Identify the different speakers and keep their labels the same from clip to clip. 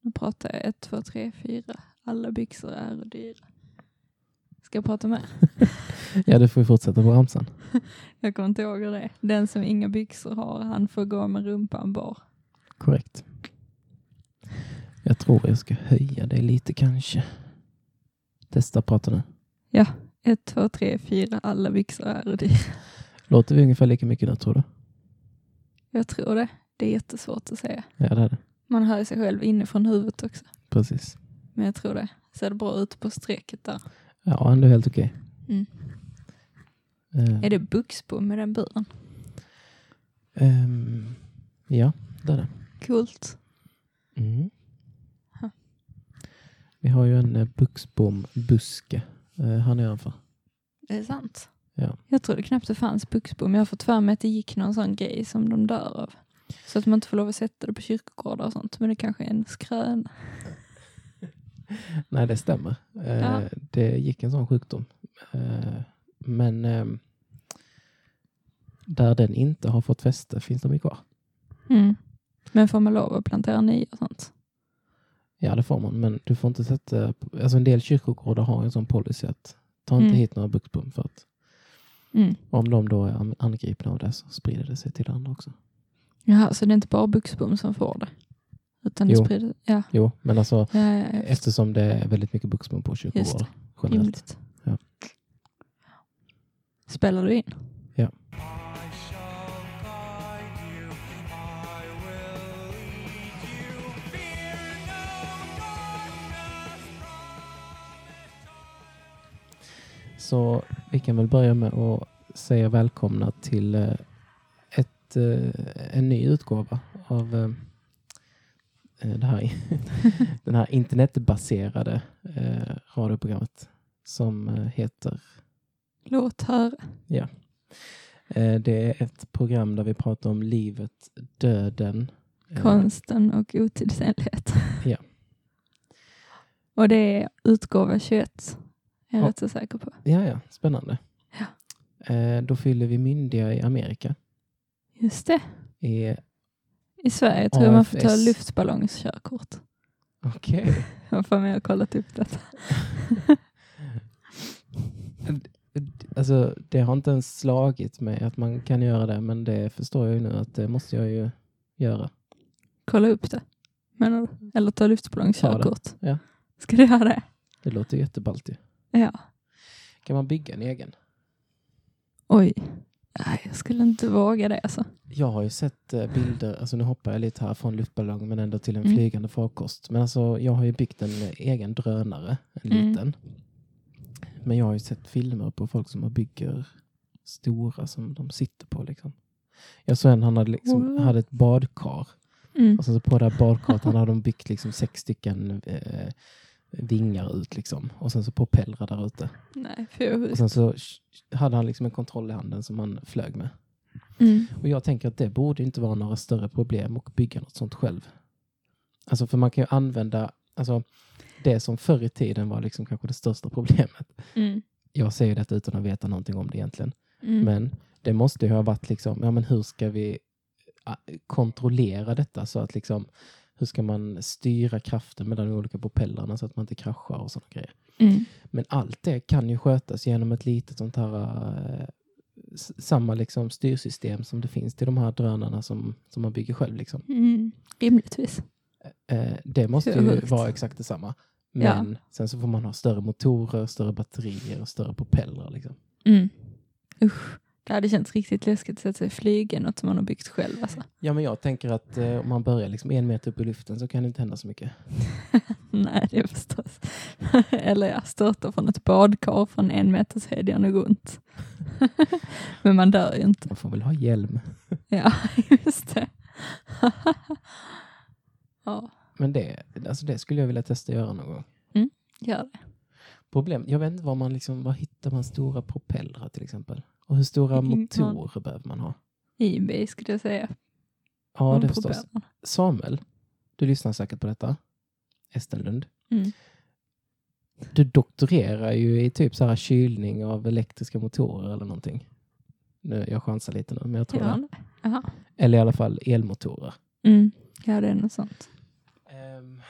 Speaker 1: Nu pratar jag ett, två, tre, fyra. Alla byxor är dyra. Ska jag prata mer?
Speaker 2: Ja, du får ju fortsätta på ramsan.
Speaker 1: Jag kommer inte ihåg hur det är. Den som inga byxor har, han får gå med rumpan bar.
Speaker 2: Korrekt. Jag tror jag ska höja dig lite kanske. Testa prata nu.
Speaker 1: Ett, två, tre, fyra. Alla byxor är dyra.
Speaker 2: Låter vi ungefär lika mycket nu tror du?
Speaker 1: Jag tror det. Det är jättesvårt att säga.
Speaker 2: Ja, det är det.
Speaker 1: Man hör ju sig själv inifrån huvudet också.
Speaker 2: Precis.
Speaker 1: Men jag tror det. Ser det bra ut på strecket där?
Speaker 2: Ja, ändå helt okej.
Speaker 1: Mm.
Speaker 2: Eh,
Speaker 1: Är det buxbom i den buren?
Speaker 2: ehm, ja, det är det.
Speaker 1: Coolt.
Speaker 2: Mm.
Speaker 1: Ha.
Speaker 2: Vi har ju en eh, buxbombuske eh, här nedanför.
Speaker 1: Det är sant.
Speaker 2: Ja.
Speaker 1: Jag trodde knappt det fanns buxbom. Jag har fått för mig att det gick någon sån grej som de dör av. Så att man inte får lov att sätta det på kyrkogårdar och sånt. Men det kanske är en skrön.
Speaker 2: Nej, det stämmer. Eh,
Speaker 1: Ja.
Speaker 2: Det gick en sån sjukdom. Eh, men ehm, där den inte har fått fäste finns de ju kvar.
Speaker 1: Mm. Men får man lov att plantera nya och sånt?
Speaker 2: Ja, det får man, men du får inte sätta... Alltså en del kyrkogårdar har en sån policy att ta inte
Speaker 1: Mm.
Speaker 2: hit några buxbom för att
Speaker 1: Mm.
Speaker 2: om de då är an- angripna av det så sprider det sig till andra också.
Speaker 1: Jaha, så det är inte bara buxbom som får det? Utan det
Speaker 2: Jo.
Speaker 1: sprider Ja,
Speaker 2: Jo, men alltså
Speaker 1: ja, ja, ja. just
Speaker 2: eftersom det är väldigt mycket buxbom på
Speaker 1: Just
Speaker 2: kyrkogårdar
Speaker 1: det.
Speaker 2: generellt.
Speaker 1: rimligt.
Speaker 2: Ja.
Speaker 1: Spelar du in?
Speaker 2: Så vi kan väl börja med att säga välkomna till eh, ett, eh, en ny utgåva av eh, eh, det här, den här internetbaserade eh, radioprogrammet som eh, heter
Speaker 1: Låt höra.
Speaker 2: eh, Det är ett program där vi pratar om livet, döden. eh,
Speaker 1: Konsten och otidsenlighet.
Speaker 2: Ja.
Speaker 1: Och det är utgåva 21. Jag är
Speaker 2: Ja.
Speaker 1: rätt så säker på.
Speaker 2: Ja, ja, spännande. Eh, Då fyller vi myndiga i Amerika.
Speaker 1: Just det.
Speaker 2: I-
Speaker 1: I Sverige tror jag man får ta
Speaker 2: AFS.
Speaker 1: luftballongskörkort.
Speaker 2: Okej.
Speaker 1: Jag får med och typ kollat upp detta.
Speaker 2: Alltså, det har inte ens slagit mig att man kan göra det, men det förstår jag ju nu att det måste jag ju göra.
Speaker 1: Kolla upp det. Menar du? Eller ta luftballongskörkort.
Speaker 2: Ja.
Speaker 1: Ska du göra det?
Speaker 2: Det låter ju jätteballt ju.
Speaker 1: Ja.
Speaker 2: Kan man bygga en egen?
Speaker 1: Oj. Nej, jag skulle inte våga det alltså.
Speaker 2: Jag har ju sett eh, bilder, alltså nu hoppar jag lite här från luftballong men ändå till en
Speaker 1: Mm.
Speaker 2: flygande farkost. Men alltså jag har ju byggt en eh, egen drönare, en
Speaker 1: Mm.
Speaker 2: liten. Men jag har ju sett filmer på folk som bygger stora som de sitter på liksom. Jag såg en han hade, liksom,
Speaker 1: Wow.
Speaker 2: hade ett badkar
Speaker 1: Mm.
Speaker 2: Och sen så på det här badkartan hade de byggt liksom sex stycken eh, vingar ut liksom. Och sen så propellrar där ute.
Speaker 1: Nej, fy.
Speaker 2: Och sen så sh- hade han liksom en kontroll i handen som han flög med.
Speaker 1: Mm.
Speaker 2: Och jag tänker att det borde inte vara några större problem att bygga något sånt själv. Alltså för man kan ju använda, alltså det som förr i tiden var liksom kanske det största problemet.
Speaker 1: Mm.
Speaker 2: Jag säger detta utan att veta någonting om det egentligen.
Speaker 1: Mm.
Speaker 2: Men det måste ju ha varit liksom, ja men hur ska vi ah, kontrollera detta så att liksom, hur ska man styra kraften mellan de olika propellrarna så att man inte kraschar och sådana grejer.
Speaker 1: Mm.
Speaker 2: Men allt det kan ju skötas genom ett litet sånt här, eh, s- samma liksom styrsystem som det finns till de här drönarna som, som man bygger själv. Liksom.
Speaker 1: Mm. Rimligtvis.
Speaker 2: Eh, det måste
Speaker 1: Hur
Speaker 2: ju
Speaker 1: sjukt.
Speaker 2: vara exakt detsamma.
Speaker 1: Ja.
Speaker 2: Men sen så får man ha större motorer, större batterier och större propellrar. Liksom.
Speaker 1: Mm. Usch. Det hade känts riktigt läskigt att sätta sig i flygen, något som man har byggt själv. Alltså.
Speaker 2: Ja, men jag tänker att eh, om man börjar liksom en meter upp i luften så kan det inte hända så mycket.
Speaker 1: Nej, det är förstås. Eller jag störtar från ett badkar från en meters höjd, gör nog ont. Men man dör ju inte.
Speaker 2: Man får väl ha hjälm.
Speaker 1: Ja, just det. ja,
Speaker 2: Men det, alltså det skulle jag vilja testa göra någon gång.
Speaker 1: gör det.
Speaker 2: Problem, jag vet inte var man liksom, var hittar man stora propellrar till exempel? Och hur stora
Speaker 1: Ingen
Speaker 2: motorer behöver man ha?
Speaker 1: eBay skulle jag säga.
Speaker 2: Ja,
Speaker 1: Om
Speaker 2: det förstås.
Speaker 1: propellrarna.
Speaker 2: Samuel, du lyssnar säkert på detta. Estenlund.
Speaker 1: Mm.
Speaker 2: Du doktorerar ju i typ så här kylning av elektriska motorer eller någonting. Nu, jag chansar lite nu, men jag tror
Speaker 1: Gör
Speaker 2: det.
Speaker 1: han det? Jaha.
Speaker 2: Eller i alla fall elmotorer.
Speaker 1: Mm. Ja, det är något sånt.
Speaker 2: Ehm,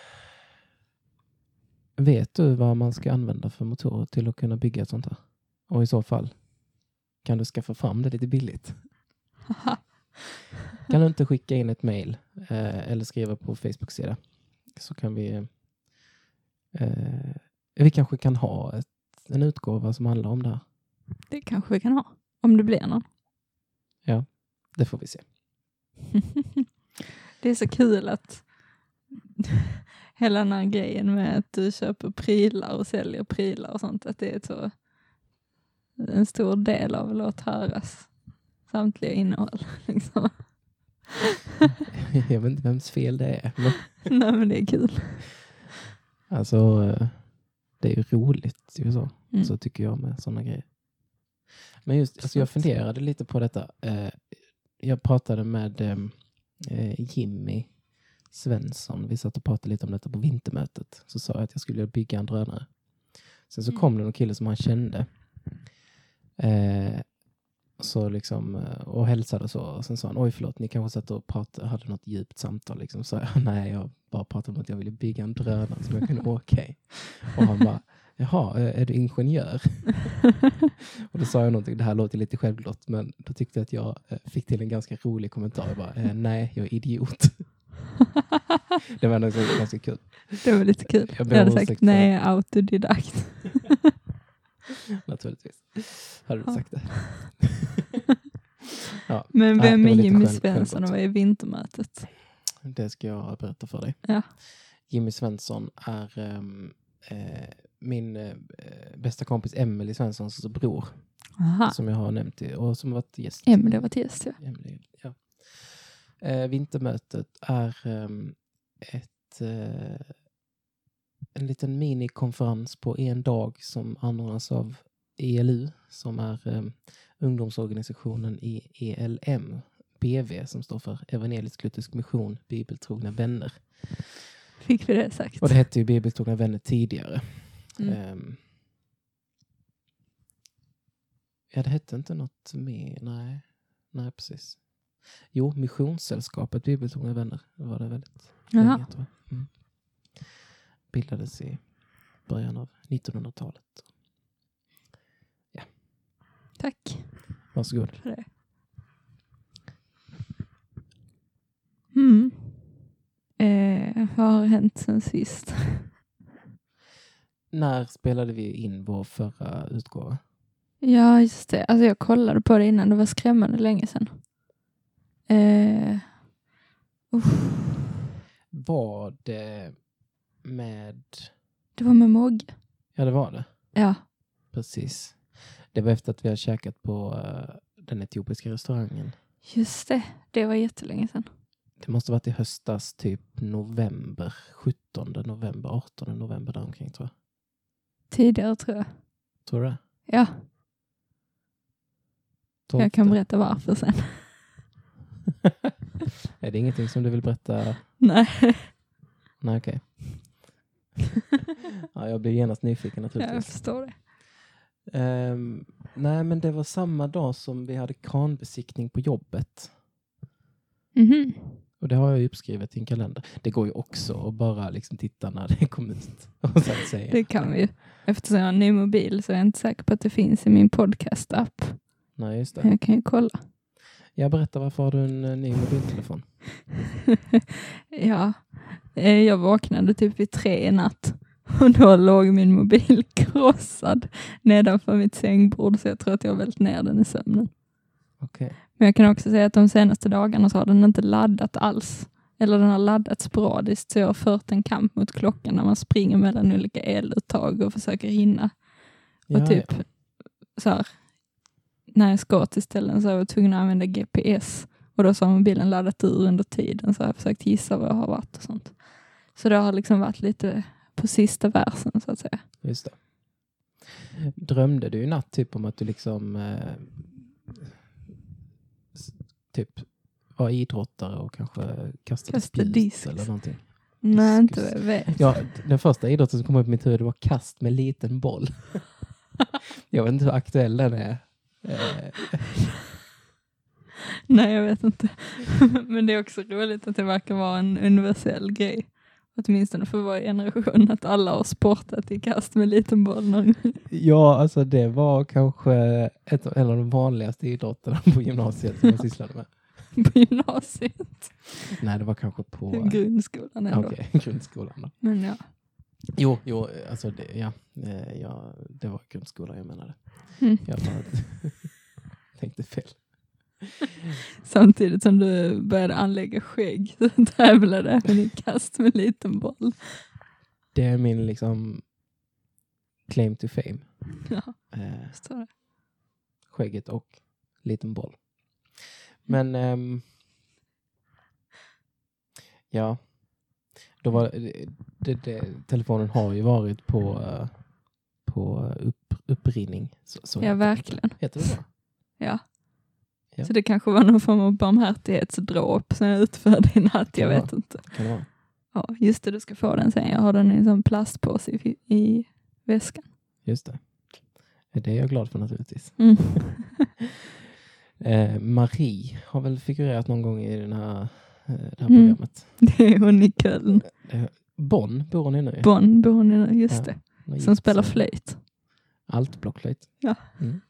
Speaker 2: Vet du vad man ska använda för motorer till att kunna bygga ett sånt här? Och i så fall, kan du skaffa fram det lite billigt? kan du inte skicka in ett mejl eh, eller skriva på Facebook-sida så kan vi... Eh, vi kanske kan ha ett, en utgåva som handlar om det här.
Speaker 1: Det kanske vi kan ha. Om det blir någon.
Speaker 2: Det får vi se.
Speaker 1: det är så kul att hela den här grejen med att du köper prylar och säljer prylar och sånt, att det är ett så en stor del av Låt höras samtliga innehåll. Liksom.
Speaker 2: Jag vet inte vems fel det är. Men
Speaker 1: Nej men det är kul.
Speaker 2: alltså, eh, det är ju roligt. Ju så.
Speaker 1: Mm.
Speaker 2: Så tycker jag med sådana grejer. Men just, alltså jag
Speaker 1: Sant.
Speaker 2: funderade lite på detta. Eh, Jag pratade med ehm, eh, Jimmy Svensson. Vi satt och pratade lite om detta på vintermötet. Så sa jag att jag skulle bygga en drönare. Sen så
Speaker 1: Mm.
Speaker 2: kom det någon kille som han kände. Eh, så liksom, eh, och hälsade och så. Och sen sa han, oj förlåt, ni kanske satt och pratade, hade något djupt samtal. Liksom. Så jag, nej, jag bara pratade om att jag ville bygga en drönare som jag kunde åka i. Och han bara, jaha, eh, är du ingenjör? Och då sa jag någonting, det här låter lite självklart, men då tyckte jag att jag eh, fick till en ganska rolig kommentar. Jag bara, eh, nej, jag är idiot. Det var ändå ganska, ganska kul.
Speaker 1: det var lite kul.
Speaker 2: Jag
Speaker 1: Jag,
Speaker 2: ber om
Speaker 1: hade
Speaker 2: ursäkt
Speaker 1: sagt
Speaker 2: för-
Speaker 1: nej, jag är autodidakt.
Speaker 2: Naturligtvis. Hade du
Speaker 1: Ja.
Speaker 2: sagt det?
Speaker 1: Men
Speaker 2: Nej, det
Speaker 1: vem
Speaker 2: var
Speaker 1: är
Speaker 2: lite
Speaker 1: Jimmy
Speaker 2: skämt-
Speaker 1: Svensson och
Speaker 2: skämtsamt.
Speaker 1: vad är Vintermötet?
Speaker 2: Det ska jag berätta för dig.
Speaker 1: Ja.
Speaker 2: Jimmy Svensson är ehm, eh, min eh, bästa kompis Emelie Svenssons bror,
Speaker 1: Aha,
Speaker 2: som jag har nämnt i- och som har varit gäst.
Speaker 1: Emelie var till gäst ja.
Speaker 2: Emelie, ja. Eh, vintermötet är ehm, ett, eh, en liten minikonferens på en dag som anordnas av ELU, som är ehm, ungdomsorganisationen i E ELM, BV, som står för Evangelisk-Luthersk Mission, Bibeltrogna Vänner.
Speaker 1: Fick vi det sagt?
Speaker 2: Och det hette ju Bibeltrogna Vänner tidigare.
Speaker 1: Mm.
Speaker 2: Ehm. ja, det hette inte något mer. Nej, nej precis. Jo, Missionssällskapet Bibeltrogna Vänner var det väldigt länge.
Speaker 1: Jaha.
Speaker 2: Tror jag. Mm. Bildades i början av 1900-talet.
Speaker 1: Tack
Speaker 2: Varsågod.
Speaker 1: för det. Mm. Eh, vad har hänt sen sist?
Speaker 2: När spelade vi in vår förra utgåva?
Speaker 1: Ja, just det. Alltså jag kollade på det innan. Det var skrämmande länge sedan. Eh, uff.
Speaker 2: Var det med...
Speaker 1: det var med Mogge.
Speaker 2: Ja, det var det.
Speaker 1: Ja.
Speaker 2: Precis. Det var efter att vi hade käkat på eh, den etiopiska restaurangen.
Speaker 1: Just det. Det var jättelänge sedan.
Speaker 2: Det måste ha varit i höstas, typ november, 17 november, 18 november däromkring tror jag.
Speaker 1: Tidigare tror jag.
Speaker 2: Tror du det?
Speaker 1: Ja,
Speaker 2: 12?
Speaker 1: jag kan berätta varför sen.
Speaker 2: Är det ingenting som du vill berätta?
Speaker 1: Nej.
Speaker 2: Nej, okej. ja, jag blir genast nyfiken
Speaker 1: Jag
Speaker 2: naturligtvis.
Speaker 1: förstår det.
Speaker 2: Ehm, nej, men det var samma dag som vi hade kranbesiktning på jobbet.
Speaker 1: Mhm.
Speaker 2: Och det har jag ju uppskrivet i en kalender. Det går ju också att bara liksom titta när det kom ut och sen säga.
Speaker 1: Det kan vi ju. Eftersom jag har en ny mobil så är jag inte säker på att det finns i min podcast-app.
Speaker 2: Nej, just det.
Speaker 1: Men jag kan ju kolla.
Speaker 2: Jag berättar varför har du en eh, ny mobiltelefon?
Speaker 1: ja, Eh, jag vaknade typ vid tre i natt och då låg min mobil krossad nedanför mitt sängbord så jag tror att jag har vält ner den i sömnen.
Speaker 2: Okej.
Speaker 1: Men jag kan också säga att de senaste dagarna så har den inte laddat alls. Eller den har laddat sporadiskt så jag har fört en kamp mot klockan när man springer mellan olika eluttag och försöker hinna.
Speaker 2: Ja,
Speaker 1: och typ så här, när jag ska till ställen så har jag tvungen att använda GPS och då så har mobilen laddat ur under tiden så har jag försökt gissa var jag har varit och sånt. Så det har liksom varit lite på sista versen så att säga.
Speaker 2: ja, just det. Drömde du i natt typ om att du liksom eh, s- typ var idrottare och kanske kastade
Speaker 1: Kastade
Speaker 2: spjut
Speaker 1: disk.
Speaker 2: eller någonting?
Speaker 1: Nej, inte vad jag vet.
Speaker 2: Ja, den första idrotten som kom upp i mitt huvud var kast med liten boll. jag vet inte hur aktuell den är. Eh,
Speaker 1: Nej, jag vet inte. Men det är också roligt att det verkar vara en universell grej. åtminstone för vår generation, att alla har sportat i kast med liten boll någon gång.
Speaker 2: Ja, alltså det var kanske ett, en av de vanligaste idrotterna på gymnasiet som jag sysslade med.
Speaker 1: på gymnasiet.
Speaker 2: Nej, det var kanske på
Speaker 1: Grundskolan
Speaker 2: eh,
Speaker 1: ändå.
Speaker 2: okej, grundskolan. Då.
Speaker 1: Men ja.
Speaker 2: Jo, jo alltså det, ja, eh, ja, det var grundskolan jag menade.
Speaker 1: Mm.
Speaker 2: Jag bara tänkte fel.
Speaker 1: Samtidigt som du började anlägga skägg så tävlade även i kast med liten boll.
Speaker 2: Det är min liksom claim to fame.
Speaker 1: Ja,
Speaker 2: Eh,
Speaker 1: förstår det.
Speaker 2: skägget och liten boll. Men
Speaker 1: Mm.
Speaker 2: ehm, ja, då var, eh, det, det, telefonen har ju varit på, eh, på upp, upprinning. Så, så
Speaker 1: Ja,
Speaker 2: heter det.
Speaker 1: verkligen.
Speaker 2: Heter det så?
Speaker 1: Ja.
Speaker 2: Ja.
Speaker 1: Så det kanske var någon form av barmhärtighetsdråp som jag utförde i natt, jag
Speaker 2: Ja.
Speaker 1: vet inte.
Speaker 2: Kan det vara?
Speaker 1: Ja, just det, du ska få den sen. Jag har den i en sån plastpåse i, i väskan.
Speaker 2: Just det. Det är jag glad för naturligtvis.
Speaker 1: Mm.
Speaker 2: Eh, Marie har väl figurerat någon gång i den här, eh, det här
Speaker 1: Mm.
Speaker 2: programmet.
Speaker 1: Det är hon i Köln.
Speaker 2: Bonn bor hon i nu.
Speaker 1: Bonn bor hon i, just
Speaker 2: Ja,
Speaker 1: det.
Speaker 2: Hon har
Speaker 1: Som
Speaker 2: gift
Speaker 1: spelar
Speaker 2: sig.
Speaker 1: flöjt.
Speaker 2: Allt blockflöjt.
Speaker 1: Ja.
Speaker 2: Mm.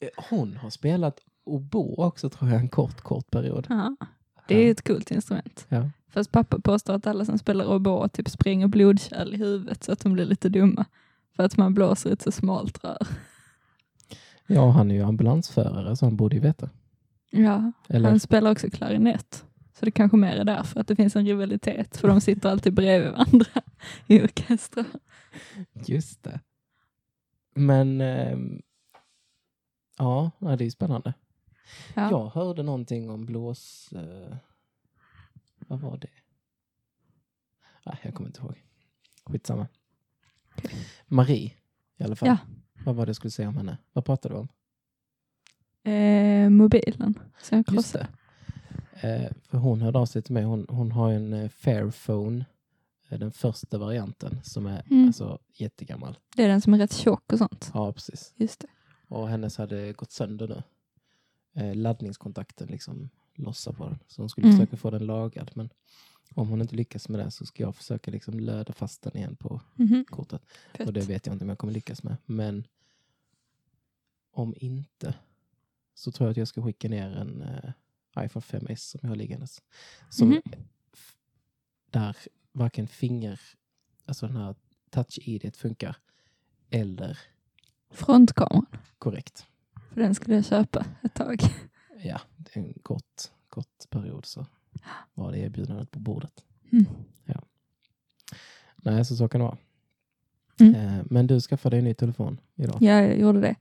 Speaker 2: Eh, Hon har spelat oboe också tror jag en kort, kort period.
Speaker 1: Ja. Det är ju ett coolt instrument.
Speaker 2: Ja.
Speaker 1: Fast pappa påstår att alla som spelar oboe typ springer blodkärl i huvudet så att de blir lite dumma. För att man blåser i ett så smalt rör.
Speaker 2: ja, han är ju ambulansförare så han borde ju veta.
Speaker 1: Ja,
Speaker 2: Eller
Speaker 1: han spelar också klarinett. Så det kanske mer är därför att det finns en rivalitet. För de sitter alltid bredvid varandra i orkestrar.
Speaker 2: just det. Men ehm, ja, ja, det är ju spännande.
Speaker 1: Ja.
Speaker 2: Jag hörde någonting om blås... Eh, vad var det? Nej, jag kommer inte ihåg. Skitsamma. Marie i alla fall.
Speaker 1: Ja.
Speaker 2: Vad var det jag skulle säga om henne? Vad pratade du om?
Speaker 1: Eh, mobilen. Så jag
Speaker 2: Just
Speaker 1: krossar.
Speaker 2: det. Eh, för hon hörde av sig till mig. Hon, hon har ju en eh, Fairphone, eh, den första varianten, som är
Speaker 1: Mm.
Speaker 2: alltså jättegammal.
Speaker 1: Det är den som är rätt tjock och sånt.
Speaker 2: Ja, precis.
Speaker 1: Just det.
Speaker 2: Och hennes hade gått sönder nu. Eh, laddningskontakten liksom lossar på den. Så hon skulle
Speaker 1: Mm.
Speaker 2: försöka få den lagad. Men om hon inte lyckas med det så ska jag försöka liksom löda fast den igen på
Speaker 1: Mhm.
Speaker 2: kortet.
Speaker 1: Fett.
Speaker 2: Och det vet jag inte om jag kommer lyckas med. Men om inte så tror jag att jag ska skicka ner en eh, iPhone 5S som jag har liggandes. Som
Speaker 1: Mhm.
Speaker 2: f- Där varken finger, alltså den här touch-id funkar eller
Speaker 1: Frontkameran.
Speaker 2: korrekt.
Speaker 1: För den skulle jag köpa ett tag.
Speaker 2: Ja, det är en kort, kort period så var det erbjudandet på bordet.
Speaker 1: Mm.
Speaker 2: Nej, så, så kan det vara.
Speaker 1: Mm.
Speaker 2: Eh, men du skaffade en ny telefon idag.
Speaker 1: Ja, jag gjorde det.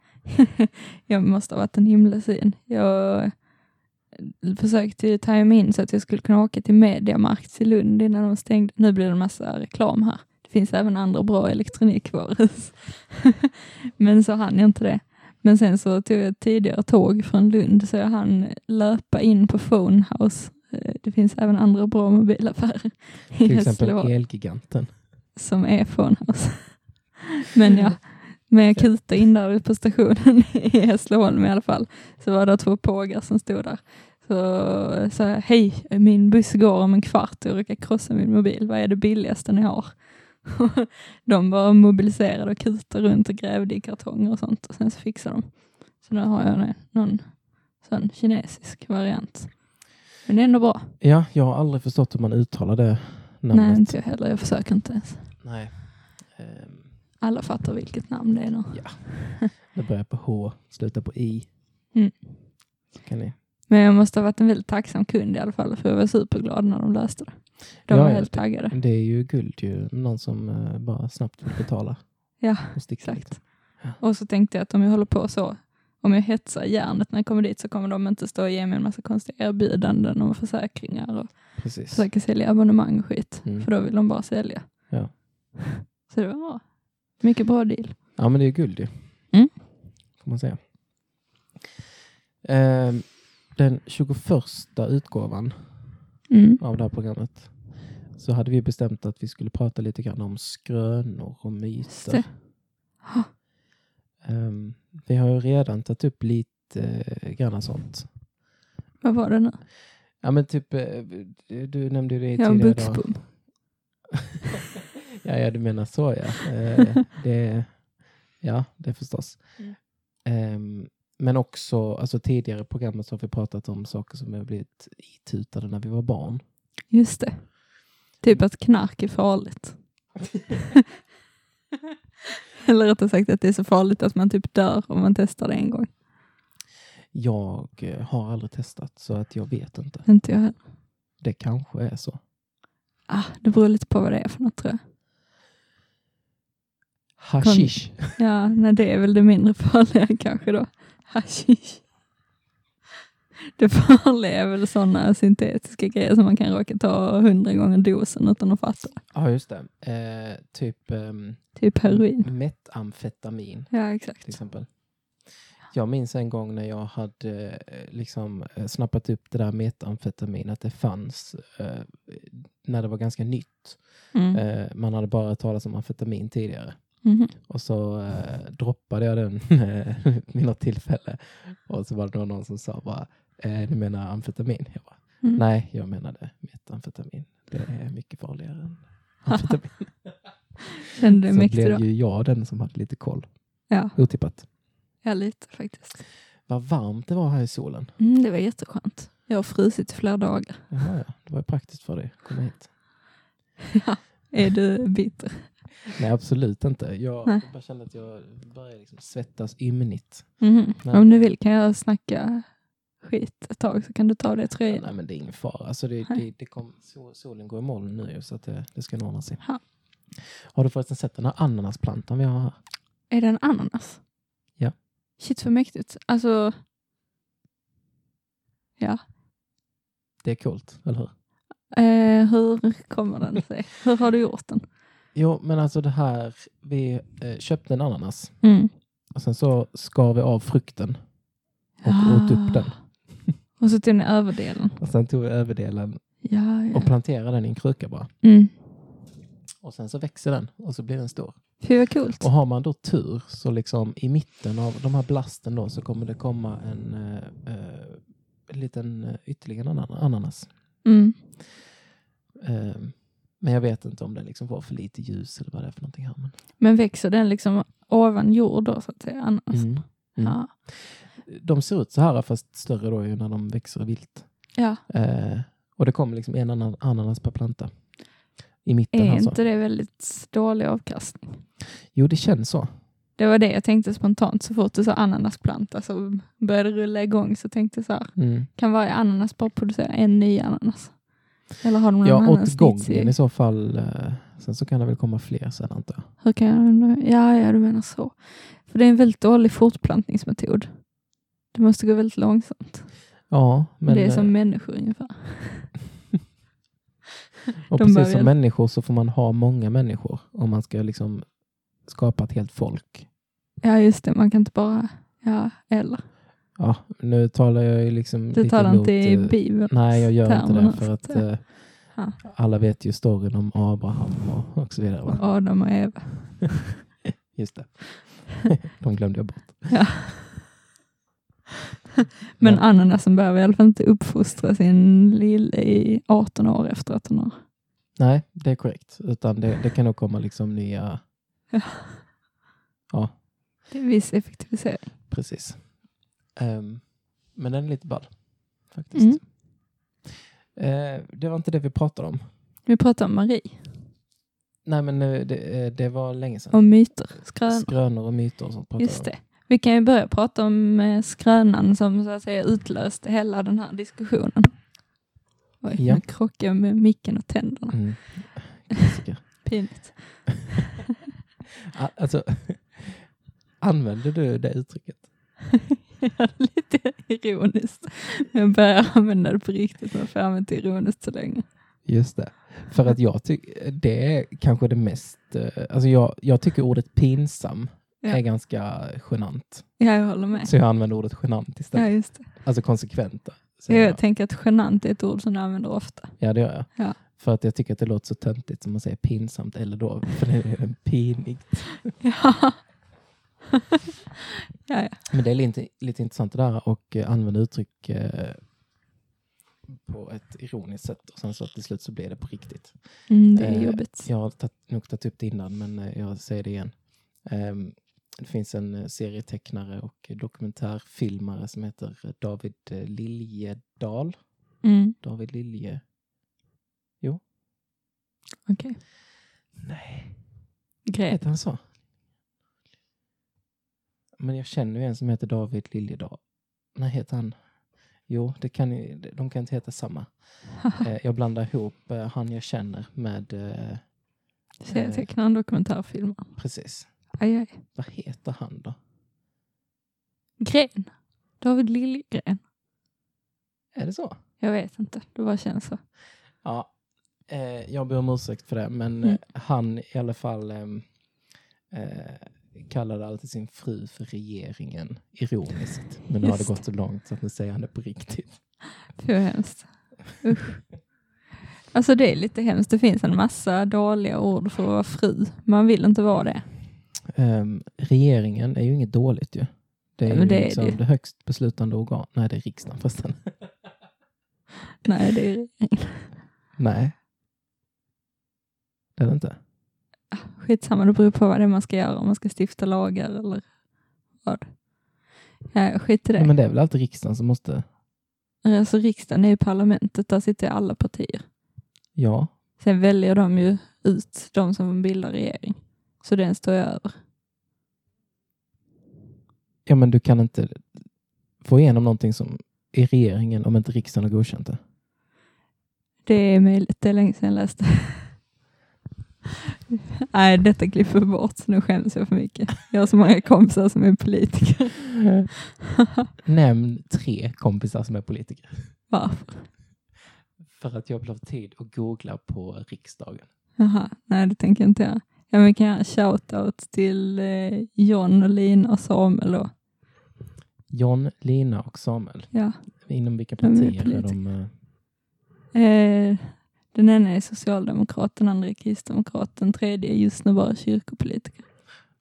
Speaker 1: jag måste ha varit en himla syn. Jag försökte ju tajma mig in så att jag skulle kunna åka till Mediamarkt i Lund innan de stängde. Nu blir det en massa reklam här. Det finns även andra bra elektronikvaruhus. Men så hann jag inte det. Men sen så tog jag ett tidigare tåg från Lund så jag hann löpa in på Phonehouse. Eh, Det finns även andra bra mobilaffärer i
Speaker 2: Till exempel
Speaker 1: Hässleholm
Speaker 2: Elgiganten.
Speaker 1: som är Fonhaus. Men ja, men jag kutade in där på stationen i Hässleholm i alla fall. Så var det två pågar som stod där. Så sa jag, hej, min buss går om en kvart och jag råkar krossa min mobil. Vad är det billigaste ni har? de var mobiliserade och kutade runt och grävde i kartonger och sånt. Och sen så fixade de. Så nu har jag någon sån kinesisk variant. Men det är ändå bra.
Speaker 2: Ja, jag har aldrig förstått hur man uttalar det namnet.
Speaker 1: Nej, inte jag heller. Jag försöker inte ens.
Speaker 2: Nej. Ehm,
Speaker 1: Alla fattar vilket namn det är nu.
Speaker 2: det börjar på H, slutar på I.
Speaker 1: Mm.
Speaker 2: Så kan ni.
Speaker 1: Men jag måste ha varit en väldigt tacksam kund i alla fall, för jag var superglad när de löste det. De
Speaker 2: Ja,
Speaker 1: var
Speaker 2: ja,
Speaker 1: helt taggade.
Speaker 2: Det är ju guld ju, någon som eh, bara snabbt vill betala.
Speaker 1: Ja,
Speaker 2: och sticka
Speaker 1: Exakt. Och så tänkte jag att om jag håller på så, om jag hetsar järnet när jag kommer dit så kommer de inte stå och ge mig en massa konstiga erbjudanden om försäkringar och
Speaker 2: lite. Precis.
Speaker 1: försöka sälja abonnemang och skit.
Speaker 2: Mm.
Speaker 1: För då vill de bara sälja.
Speaker 2: Ja.
Speaker 1: Så det var bra. Mycket bra deal.
Speaker 2: Ja, men det är ju guld ju.
Speaker 1: Mm.
Speaker 2: Får man säga. Ehm, den 21 utgåvan
Speaker 1: Mm.
Speaker 2: av det här programmet så hade vi bestämt att vi skulle prata lite grann om skrönor och myter.
Speaker 1: det. Ja.
Speaker 2: Ehm, vi har ju redan tagit upp lite eh, grann sånt.
Speaker 1: Vad var det nu?
Speaker 2: Ja men typ, eh, du- du nämnde ju det
Speaker 1: Jag har en
Speaker 2: tidigare idag.
Speaker 1: buxpump.
Speaker 2: Ja, ja, du menar så ja. Eh, det, ja, det förstås.
Speaker 1: Mm.
Speaker 2: Ehm, men också, alltså tidigare i programmet så har vi pratat om saker som har blivit itutade när vi var barn.
Speaker 1: Just det. Typ att knark är farligt. Eller rättare sagt att det är så farligt att man typ dör om man testar det en gång.
Speaker 2: Jag eh, har aldrig testat så att jag vet inte.
Speaker 1: Inte jag heller.
Speaker 2: Det kanske är så.
Speaker 1: Ah, det beror lite på vad det är för något tror jag.
Speaker 2: Hashish.
Speaker 1: Ja, nej, det är väl det mindre farliga kanske då. Hashish. Det farliga är väl sådana syntetiska grejer som man kan råka ta hundra gånger dosen utan att fatta.
Speaker 2: Ja, just det. Eh, typ ehm,
Speaker 1: Typ heroin.
Speaker 2: metamfetamin.
Speaker 1: Ja,
Speaker 2: till
Speaker 1: exakt.
Speaker 2: exempel. Jag minns en gång när jag hade eh, liksom eh, snappat upp det där metamfetamin, att det fanns eh, när det var ganska nytt.
Speaker 1: Mm.
Speaker 2: Eh, man hade bara hört talas om amfetamin tidigare.
Speaker 1: Mhm.
Speaker 2: Och så eh, droppade jag den eh, vid något tillfälle. Och så var det då någon som sa bara, eh, du menar amfetamin? Jag bara,
Speaker 1: Mm.
Speaker 2: Nej, jag menade metamfetamin. Det är mycket farligare än amfetamin.
Speaker 1: Kände dig
Speaker 2: så
Speaker 1: mäktig då?
Speaker 2: blev ju jag den som hade lite koll.
Speaker 1: Ja,
Speaker 2: Otippat.
Speaker 1: ja, lite faktiskt.
Speaker 2: Vad varmt det var här i solen.
Speaker 1: Mm, det var jätteskönt. Jag har frusit i flera dagar.
Speaker 2: Jaha, ja. Det var ju praktiskt för dig att komma hit.
Speaker 1: Ja. Är du bitter?
Speaker 2: Nej, absolut inte. Jag
Speaker 1: Nej.
Speaker 2: bara kände att jag började liksom svettas ymnigt.
Speaker 1: Mhm.
Speaker 2: Nej.
Speaker 1: Om du vill kan jag snacka skit ett tag så kan du ta det i tröjan.
Speaker 2: Nej, men det är ingen fara. Alltså det,
Speaker 1: Nej.
Speaker 2: det, det kom, sol- solen går i moln nu ju, så att det, det ska nog ordna sig.
Speaker 1: Ja.
Speaker 2: Har du förresten sett den här ananasplantan vi har här?
Speaker 1: Är det en ananas?
Speaker 2: Ja.
Speaker 1: Shit vad mäktigt. Alltså,
Speaker 2: Det är coolt, eller hur?
Speaker 1: eh, hur kommer den sig? hur har du gjort den?
Speaker 2: Jo, men alltså det här. Vi eh, köpte en ananas
Speaker 1: Mm.
Speaker 2: och sen så skar vi av frukten och åt upp den.
Speaker 1: Och så till den överdelen.
Speaker 2: Och sen tog vi överdelen
Speaker 1: Ja, ja.
Speaker 2: och planterade den i en kruka bara.
Speaker 1: Mm.
Speaker 2: Och sen så växer den och så blir den stor.
Speaker 1: Fy vad coolt.
Speaker 2: Och har man då tur så liksom i mitten av de här blasten då så kommer det komma en eh, eh, liten eh, ytterligare en anan- ananas.
Speaker 1: Mm.
Speaker 2: Eh, men jag vet inte om det liksom var för lite ljus eller vad det är för någonting här. Men,
Speaker 1: Men växer den liksom ovan jord då så att säga? Ananas?
Speaker 2: Mm.
Speaker 1: Ja.
Speaker 2: De ser ut så här fast större då ju när de växer vilt.
Speaker 1: ja.
Speaker 2: Eh, och det kommer liksom en anan- ananas per planta. I mitten
Speaker 1: Är
Speaker 2: här så.
Speaker 1: inte det väldigt dålig avkastning?
Speaker 2: Jo det känns så.
Speaker 1: Det var det jag tänkte spontant så fort du sa ananasplanta så började det rulla igång så tänkte jag så här,
Speaker 2: Mm.
Speaker 1: kan varje ananas bara producera en ny ananas? Eller har de någon
Speaker 2: Ja,
Speaker 1: annan
Speaker 2: åt gången i
Speaker 1: snittsig-
Speaker 2: så fall. Eh, sen så kan det väl komma fler sen antar jag.
Speaker 1: Hur kan jag undra? Ja, ja, du menar så. För det är en väldigt dålig fortplantningsmetod. Det måste gå väldigt långsamt.
Speaker 2: Ja, men,
Speaker 1: det är
Speaker 2: eh,
Speaker 1: som människor ungefär. De
Speaker 2: Och precis
Speaker 1: börjar-
Speaker 2: som människor så får man ha många människor om man ska liksom skapa ett helt folk.
Speaker 1: Ja, just det. Man kan inte bara... Ja, eller.
Speaker 2: Ja, nu talar jag ju liksom
Speaker 1: Du
Speaker 2: lite
Speaker 1: talar
Speaker 2: emot,
Speaker 1: inte i
Speaker 2: eh,
Speaker 1: Bibeln.
Speaker 2: Nej, jag gör inte det
Speaker 1: termerna,
Speaker 2: för
Speaker 1: så
Speaker 2: att
Speaker 1: att säga.
Speaker 2: eh,
Speaker 1: Ja.
Speaker 2: alla vet ju storyn om Abraham och, och så vidare. Va?
Speaker 1: Adam och Eva.
Speaker 2: Just det. De glömde jag bort.
Speaker 1: Men
Speaker 2: Ja.
Speaker 1: ananasen behöver i alla fall inte uppfostra sin lille i 18 år efter att hon har...
Speaker 2: Nej, det är korrekt. Utan det, det kan nog komma liksom nya...
Speaker 1: Ja.
Speaker 2: Ja,
Speaker 1: Det är en viss effektivisering.
Speaker 2: precis. Ehm, men den är lite ball, faktiskt.
Speaker 1: Mm.
Speaker 2: Eh, det var inte det vi pratade om.
Speaker 1: Vi pratar om Marie,
Speaker 2: Nej, men eh, det, eh, det var länge sedan.
Speaker 1: om myter, skrönor.
Speaker 2: Skrönor och myter och sånt. pratar
Speaker 1: Just
Speaker 2: vi
Speaker 1: det. Vi kan ju börja prata om eh, skrönan som så att säga utlöste hela den här diskussionen. Oj,
Speaker 2: Ja.
Speaker 1: ja. nu krockade jag med micken och tänderna.
Speaker 2: om. Mm. Klassiker.
Speaker 1: Pinigt.
Speaker 2: A- alltså, använder du det uttrycket?
Speaker 1: Jag hade lite ironiskt. Men jag började använda det på riktigt, men för jag har använt det ironiskt så länge.
Speaker 2: Just det. För att jag tycker det är kanske det mest... eh, Alltså jag, jag tycker ordet pinsam
Speaker 1: Ja.
Speaker 2: är ganska genant.
Speaker 1: Ja, jag håller med.
Speaker 2: Så jag använder ordet genant
Speaker 1: Ja,
Speaker 2: istället.
Speaker 1: just det.
Speaker 2: Alltså konsekventa.
Speaker 1: Ja,
Speaker 2: säger
Speaker 1: jag tänker att genant är ett ord som du använder ofta.
Speaker 2: Ja, det gör jag.
Speaker 1: Ja.
Speaker 2: För att jag tycker att det låter så töntigt som man säger pinsamt eller då. För det är en pinig.
Speaker 1: Ja. ja, ja.
Speaker 2: Men det är lite, lite intressant det där och eh, använda uttryck eh, på ett ironiskt sätt och sen så till slut så blir det på riktigt.
Speaker 1: Mm, det är
Speaker 2: Eh,
Speaker 1: jobbigt.
Speaker 2: Jag har tatt, nog tagit upp det innan men eh, jag säger det igen. Ehm, det finns en eh, serietecknare och dokumentärfilmare som heter David eh, Liljedahl.
Speaker 1: Mm,
Speaker 2: David Lilje...
Speaker 1: Okej.
Speaker 2: Nej.
Speaker 1: Gret.
Speaker 2: Heter han så? Men jag känner ju en som heter David Liljedahl. Nej, heter han? Jo, det kan, ju- de kan inte heta samma. Eh, jag blandar ihop eh, han jag känner med... Eh,
Speaker 1: Serietecknaren, dokumentärfilmaren.
Speaker 2: precis.
Speaker 1: Aj, aj.
Speaker 2: Vad heter han då?
Speaker 1: Gren. David Liljegren.
Speaker 2: Är det så?
Speaker 1: Jag vet inte, det bara känns så.
Speaker 2: Ja, eh, jag ber om ursäkt för det, men
Speaker 1: Mm.
Speaker 2: eh, han i alla fall ehm, eh, kallade alltid sin fru för regeringen, ironiskt. Men nu har det
Speaker 1: Just
Speaker 2: gått så långt så att nu säger han det på riktigt.
Speaker 1: Fy vad hemskt. Usch. Alltså det är lite hemskt. Det finns en massa dåliga ord för att vara fru. Man vill inte vara det.
Speaker 2: Ehm, regeringen är ju inget dåligt ju. Det
Speaker 1: Ja,
Speaker 2: är
Speaker 1: men
Speaker 2: ju
Speaker 1: det är
Speaker 2: liksom
Speaker 1: det
Speaker 2: det.
Speaker 1: ju.
Speaker 2: högst beslutande organ. Nej, det är riksdagen förresten.
Speaker 1: Nej, det är
Speaker 2: Nej. Det är det inte.
Speaker 1: skitsamma. Det beror på vad det är man ska göra. Om man ska stifta lagar eller vad. Ja, skit i det.
Speaker 2: Nej, men det är väl alltid riksdagen som måste...
Speaker 1: Alltså riksdagen är ju parlamentet. Där sitter ju alla partier.
Speaker 2: Ja,
Speaker 1: Sen väljer de ju ut de som bildar regering. Så den står jag över.
Speaker 2: ja men du kan inte få igenom någonting som i regeringen om inte riksdagen har godkänt det.
Speaker 1: Det är möjligt, det är länge sedan jag läste. Nej, detta klipper vi bort, så nu skäms jag för mycket. Jag har så många kompisar som är politiker.
Speaker 2: Nämn tre kompisar som är politiker.
Speaker 1: Varför?
Speaker 2: För att jag blev tid att googla på riksdagen.
Speaker 1: Jaha, nej det tänker jag inte göra. Ja, men kan jag göra en shoutout till eh, John och Lina och Samuel och,
Speaker 2: John, Lina och Samuel.
Speaker 1: ja.
Speaker 2: Inom vilka
Speaker 1: De är
Speaker 2: partier är, de?
Speaker 1: politiker.
Speaker 2: eh,
Speaker 1: Eh, den ena är socialdemokrat, den andra är kristdemokrat, den tredje är just nu bara kyrkopolitiker.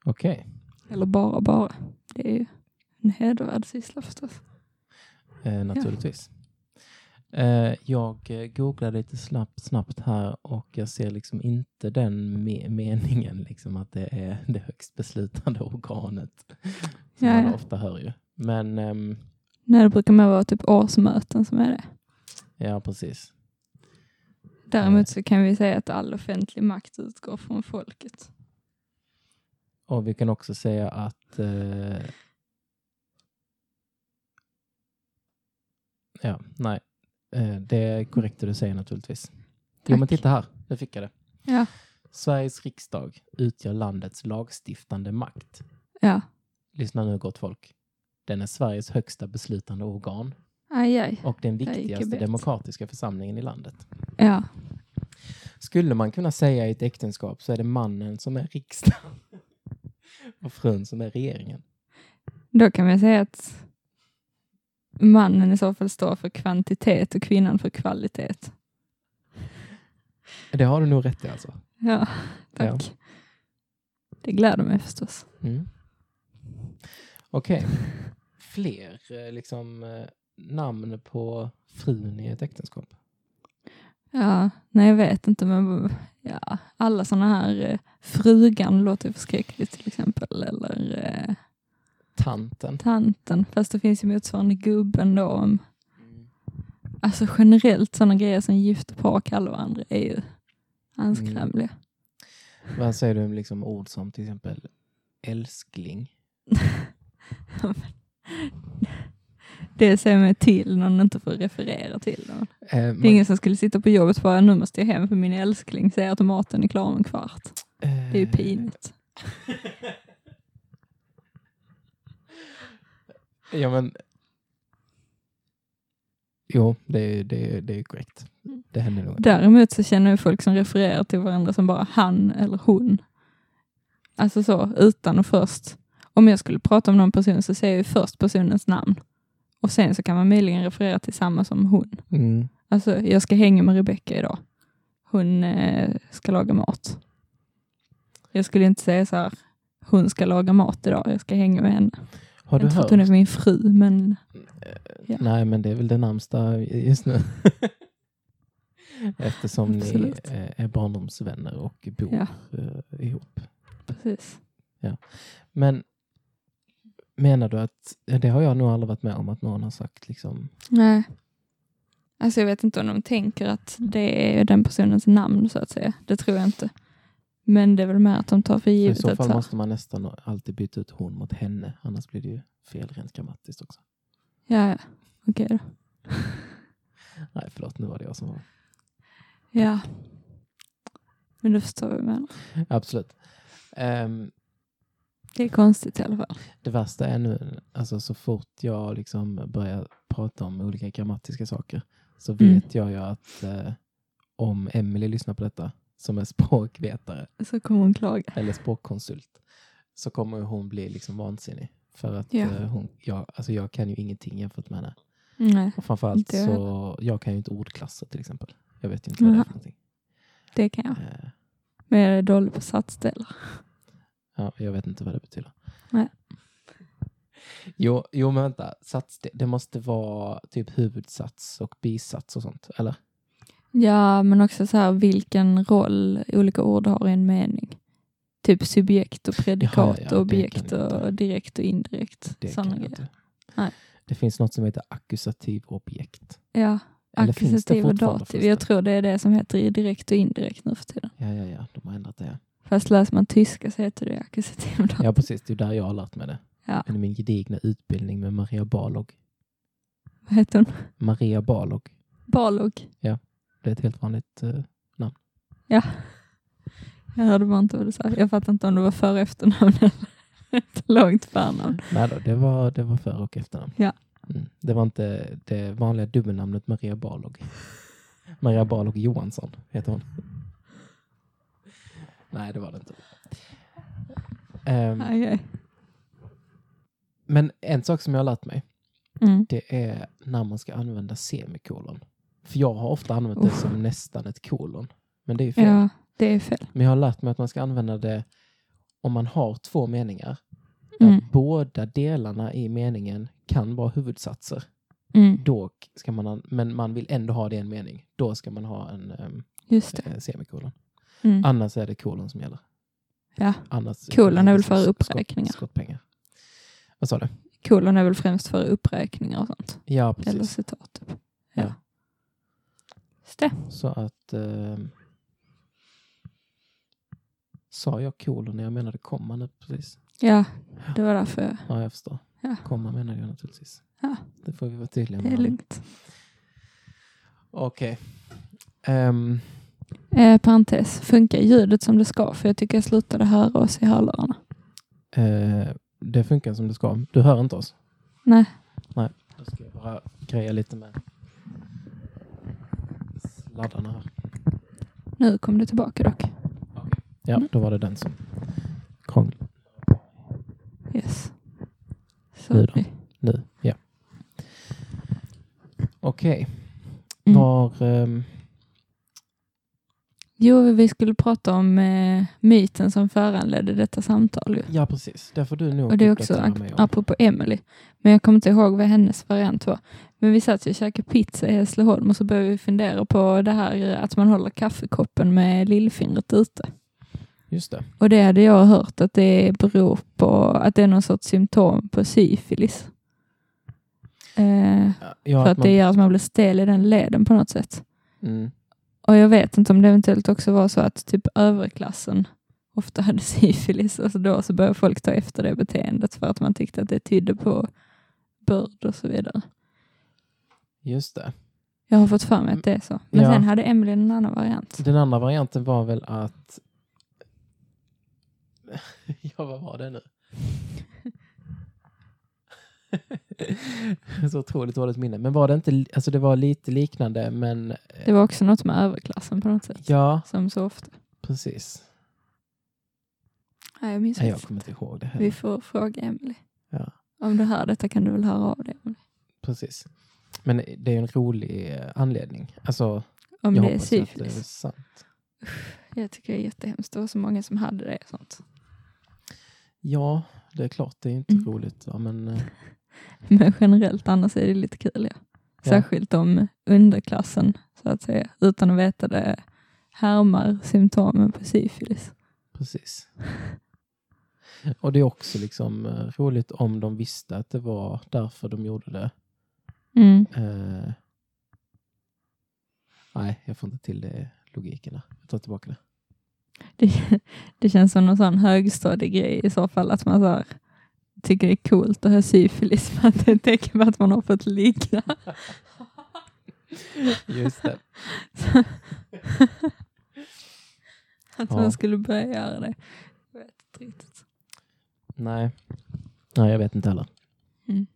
Speaker 2: Okej.
Speaker 1: Eller bara bara. Det är ju en hedervärd syssla förstås.
Speaker 2: Eh, naturligtvis. Eh, jag eh, googlade lite snabbt, snabbt här och jag ser liksom inte den me- meningen liksom att det är det högst beslutande organet. Som
Speaker 1: Ja,
Speaker 2: man
Speaker 1: ja.
Speaker 2: ofta hör ju. Men ehm,
Speaker 1: Nej, det brukar mer vara typ årsmöten som är det.
Speaker 2: ja, precis.
Speaker 1: Däremot så kan vi säga att all offentlig makt utgår från folket.
Speaker 2: Och vi kan också säga att eh, ja, nej, eh, det är korrekt det du säger naturligtvis. Jo, men
Speaker 1: Tack.
Speaker 2: titta här, nu fick jag det.
Speaker 1: Ja.
Speaker 2: Sveriges riksdag utgör landets lagstiftande makt.
Speaker 1: Ja.
Speaker 2: Lyssna nu gott folk. Den är Sveriges högsta beslutande organ
Speaker 1: Aj, aj.
Speaker 2: och den
Speaker 1: gick ju
Speaker 2: viktigaste
Speaker 1: bättre.
Speaker 2: demokratiska församlingen i landet.
Speaker 1: Ja.
Speaker 2: Skulle man kunna säga i ett äktenskap så är det mannen som är riksdagen och frun som är regeringen.
Speaker 1: Då kan man säga att mannen i så fall står för kvantitet och kvinnan för kvalitet.
Speaker 2: Det har du nog rätt i alltså.
Speaker 1: Ja, tack. Det gläder mig förstås.
Speaker 2: Mm. Okej. Fler eh, liksom, eh, namn på frun i ett äktenskap?
Speaker 1: Ja, nej jag vet inte men ja, alla sådana här eh, frugan låter ju förskräckligt till exempel eller eh,
Speaker 2: Tanten.
Speaker 1: tanten fast det finns ju motsvarande gubben då om Alltså generellt sådana grejer som gifta par kallar varandra är ju anskrämliga.
Speaker 2: Vad säger du om liksom ord som till exempel älskling?
Speaker 1: Det säger man till när man inte får referera till någon.
Speaker 2: Eh,
Speaker 1: Det är ingen som skulle sitta på jobbet och bara nu måste jag hem för min älskling säger att maten är klar om en kvart.
Speaker 2: eh,
Speaker 1: Det är ju pinigt.
Speaker 2: Ja, men... Jo, det är, det är, det är korrekt.
Speaker 1: Mm.
Speaker 2: Det händer nog.
Speaker 1: Däremot så känner jag folk som refererar till varandra som bara han eller hon. Alltså så, utan och först. Om jag skulle prata om någon person så säger jag ju först personens namn. Och sen så kan man möjligen referera till samma som hon.
Speaker 2: Mm.
Speaker 1: Alltså, jag ska hänga med Rebecka idag. Hon eh, ska laga mat. Jag skulle inte säga så här, hon ska laga mat idag, jag ska hänga med henne.
Speaker 2: Har
Speaker 1: jag
Speaker 2: du
Speaker 1: inte för
Speaker 2: hört?
Speaker 1: att hon är min fru, men ja.
Speaker 2: Nej, men det är väl det närmsta just nu. Eftersom ni
Speaker 1: Absolut.
Speaker 2: eh, är barndomsvänner och bor
Speaker 1: Ja.
Speaker 2: eh, ihop.
Speaker 1: precis.
Speaker 2: Men menar du att, ja, det har jag nog aldrig varit med om att någon har sagt liksom,
Speaker 1: Nej. Alltså jag vet inte om de tänker att det är den personens namn så att säga. Det tror jag inte. Men det är väl mer att de tar för
Speaker 2: för i
Speaker 1: givet
Speaker 2: så
Speaker 1: att
Speaker 2: fall
Speaker 1: så här-
Speaker 2: måste man nästan alltid byta ut hon mot henne, annars blir det ju fel rent grammatiskt också.
Speaker 1: Ja, ja. okej då.
Speaker 2: Nej, förlåt, nu var det jag som var...
Speaker 1: Ja. Men du förstår vad jag menar.
Speaker 2: Absolut. Ehm,
Speaker 1: Det är konstigt i alla fall.
Speaker 2: det värsta är nu, alltså så fort jag liksom börjar prata om olika grammatiska saker så
Speaker 1: Mm.
Speaker 2: vet jag ju att eh, om Emily lyssnar på detta som är språkvetare
Speaker 1: Så kommer hon klaga.
Speaker 2: eller språkkonsult så kommer ju hon bli liksom vansinnig. För att
Speaker 1: Ja.
Speaker 2: eh, hon, jag, alltså jag kan ju ingenting jämfört med henne.
Speaker 1: Nej,
Speaker 2: Och framförallt
Speaker 1: Inte jag
Speaker 2: så, jag kan ju inte ordklasser till exempel. Jag vet ju inte vad det är
Speaker 1: Jaha.
Speaker 2: för någonting.
Speaker 1: det kan jag.
Speaker 2: Eh,
Speaker 1: Men jag är dålig på satsdelar.
Speaker 2: Ja, jag vet inte vad det betyder.
Speaker 1: Nej.
Speaker 2: Jo, jo men vänta. Sats, det, det måste vara typ huvudsats och bisats och sånt, eller?
Speaker 1: Ja, men också så här vilken roll olika ord har i en mening. Typ subjekt och predikat
Speaker 2: Jaha, ja,
Speaker 1: och
Speaker 2: det
Speaker 1: objekt
Speaker 2: kan jag inte.
Speaker 1: och direkt och indirekt.
Speaker 2: Det
Speaker 1: Sådana
Speaker 2: jag
Speaker 1: grejer.
Speaker 2: inte.
Speaker 1: Nej.
Speaker 2: Det finns något som heter ackusativ objekt.
Speaker 1: Ja,
Speaker 2: Eller finns det
Speaker 1: ackusativ och
Speaker 2: fortfarande
Speaker 1: dativ.
Speaker 2: förresten?
Speaker 1: Jag tror det är det som heter i direkt och indirekt nu för tiden.
Speaker 2: Ja, ja, ja, de har ändrat det.
Speaker 1: Fast läser man tyska så heter det ackusativ och dativ.
Speaker 2: Ja, ja precis. Det är där jag har lärt mig det.
Speaker 1: Ja.
Speaker 2: Genom min gedigna utbildning med Maria Barlog.
Speaker 1: Vad heter hon?
Speaker 2: Maria Barlog.
Speaker 1: Barlog.
Speaker 2: Det är ett helt vanligt... eh,
Speaker 1: Jag hörde bara inte vad du sa. Jag fattar inte om det var för och efternamn eller ett långt förnamn.
Speaker 2: nej då, det var, det var för och efternamn.
Speaker 1: Ja.
Speaker 2: Mm. Det var inte det vanliga dubbelnamnet Maria Barlog. Maria Barlog Johansson heter hon. Nej, det var det inte. Ehm,
Speaker 1: Aj, aj.
Speaker 2: men en sak som jag har lärt mig,
Speaker 1: Mm.
Speaker 2: det är när man ska använda semikolon. För jag har ofta använt det
Speaker 1: Uff.
Speaker 2: som nästan ett kolon. Men det är ju fel.
Speaker 1: Ja, det är fel.
Speaker 2: Men jag har lärt mig att man ska använda det om man har två meningar. Där
Speaker 1: Mm.
Speaker 2: båda delarna i meningen kan vara huvudsatser.
Speaker 1: Mm.
Speaker 2: Då ska man, an- men man vill ändå ha det i en mening. Då ska man ha en ehm,
Speaker 1: Just det.
Speaker 2: eh, semikolon.
Speaker 1: Mm.
Speaker 2: Annars är det kolon som gäller.
Speaker 1: Ja.
Speaker 2: Annars liksom
Speaker 1: Kolon är väl för
Speaker 2: skott-
Speaker 1: uppräkningar.
Speaker 2: Skott, skottpengar. Vad sa du?
Speaker 1: Kolon är väl främst för uppräkningar och sånt.
Speaker 2: Ja, precis.
Speaker 1: Eller citat. Typ.
Speaker 2: Ja.
Speaker 1: Just det.
Speaker 2: Så att... ehm, sa jag kolon när jag menade komma nu precis?
Speaker 1: Ja, det var därför jag...
Speaker 2: Ja, jag förstår.
Speaker 1: Ja.
Speaker 2: Komma menar jag naturligtvis.
Speaker 1: Ja.
Speaker 2: Det får vi vara tydliga
Speaker 1: Det är
Speaker 2: med.
Speaker 1: lugnt.
Speaker 2: Okej. Ehm,
Speaker 1: Eh, parentes. Funkar ljudet som det ska? För jag tycker jag slutade höra oss i hörlurarna.
Speaker 2: eh, det funkar som det ska. Du hör inte oss?
Speaker 1: Nej.
Speaker 2: Nej. Då ska jag bara greja lite med sladdarna här.
Speaker 1: Nu kom det tillbaka dock.
Speaker 2: Ja,
Speaker 1: Mm.
Speaker 2: då var det den som krånglade
Speaker 1: Yes. Så
Speaker 2: Nu då? nu. Ja. Okej.
Speaker 1: Mm.
Speaker 2: Var... ehm,
Speaker 1: Jo, vi skulle prata om eh, myten som föranledde detta samtal. Ju.
Speaker 2: ja, precis. Där får du nog
Speaker 1: Och det är också
Speaker 2: uppdatera
Speaker 1: ap-
Speaker 2: mig om.
Speaker 1: apropå Emily. Men jag kommer inte ihåg vad hennes variant var. Men vi satt ju och käkade pizza i Hässleholm och så började vi fundera på det här eh, att man håller kaffekoppen med lillfingret ute.
Speaker 2: Just det.
Speaker 1: Och det hade jag hört att det beror på att det är någon sorts symptom på syfilis. Eh,
Speaker 2: Ja, Ja,
Speaker 1: för
Speaker 2: att
Speaker 1: att det gör att man blir stel i den leden på något sätt.
Speaker 2: man, mm,
Speaker 1: Och jag vet inte om det eventuellt också var så att typ överklassen ofta hade syfilis och så då så började folk ta efter det beteendet för att man tyckte att det tydde på börd och så vidare.
Speaker 2: just det.
Speaker 1: Jag har fått för mig att det är så. Men
Speaker 2: Ja.
Speaker 1: sen hade Emily en annan variant.
Speaker 2: Den andra varianten var väl att... ja, vad var det nu? så otroligt dåligt minne. Men var det inte... Alltså det var lite liknande, men...
Speaker 1: Det var också något med överklassen på något sätt.
Speaker 2: Ja,
Speaker 1: Som så ofta.
Speaker 2: precis.
Speaker 1: Nej, jag minns
Speaker 2: Nej,
Speaker 1: inte.
Speaker 2: jag kommer inte ihåg det
Speaker 1: Vi
Speaker 2: heller.
Speaker 1: får fråga Emily.
Speaker 2: Ja.
Speaker 1: Om du hör detta kan du väl höra av dig Emily.
Speaker 2: Precis. Men det är ju en rolig eh, anledning. Alltså,
Speaker 1: om
Speaker 2: jag
Speaker 1: det är
Speaker 2: hoppas ju att det är
Speaker 1: syfilis.
Speaker 2: sant.
Speaker 1: Jag tycker det är jättehemskt. Det var så många som hade det. och Sånt.
Speaker 2: Ja, det är klart det är inte
Speaker 1: Mm.
Speaker 2: roligt. Va? Men, eh,
Speaker 1: Men generellt annars är det lite kul. Ja. Särskilt om underklassen, så att säga, utan att veta det, härmar symptomen på syfilis.
Speaker 2: Precis. Och det är också liksom eh, roligt om de visste att det var därför de gjorde det.
Speaker 1: Mm.
Speaker 2: Eh, nej, jag får inte till det logiken. där. Jag tar tillbaka det.
Speaker 1: Det, det känns som någon sån högstadiegrej i så fall, att man så här, tycker det är coolt att ha syfilis, men att det är ett tecken på att man har fått ligga.
Speaker 2: Just det.
Speaker 1: Att
Speaker 2: Ja.
Speaker 1: man skulle börja göra det. Jag vet inte riktigt.
Speaker 2: Nej. nej, jag vet inte heller.
Speaker 1: Mm.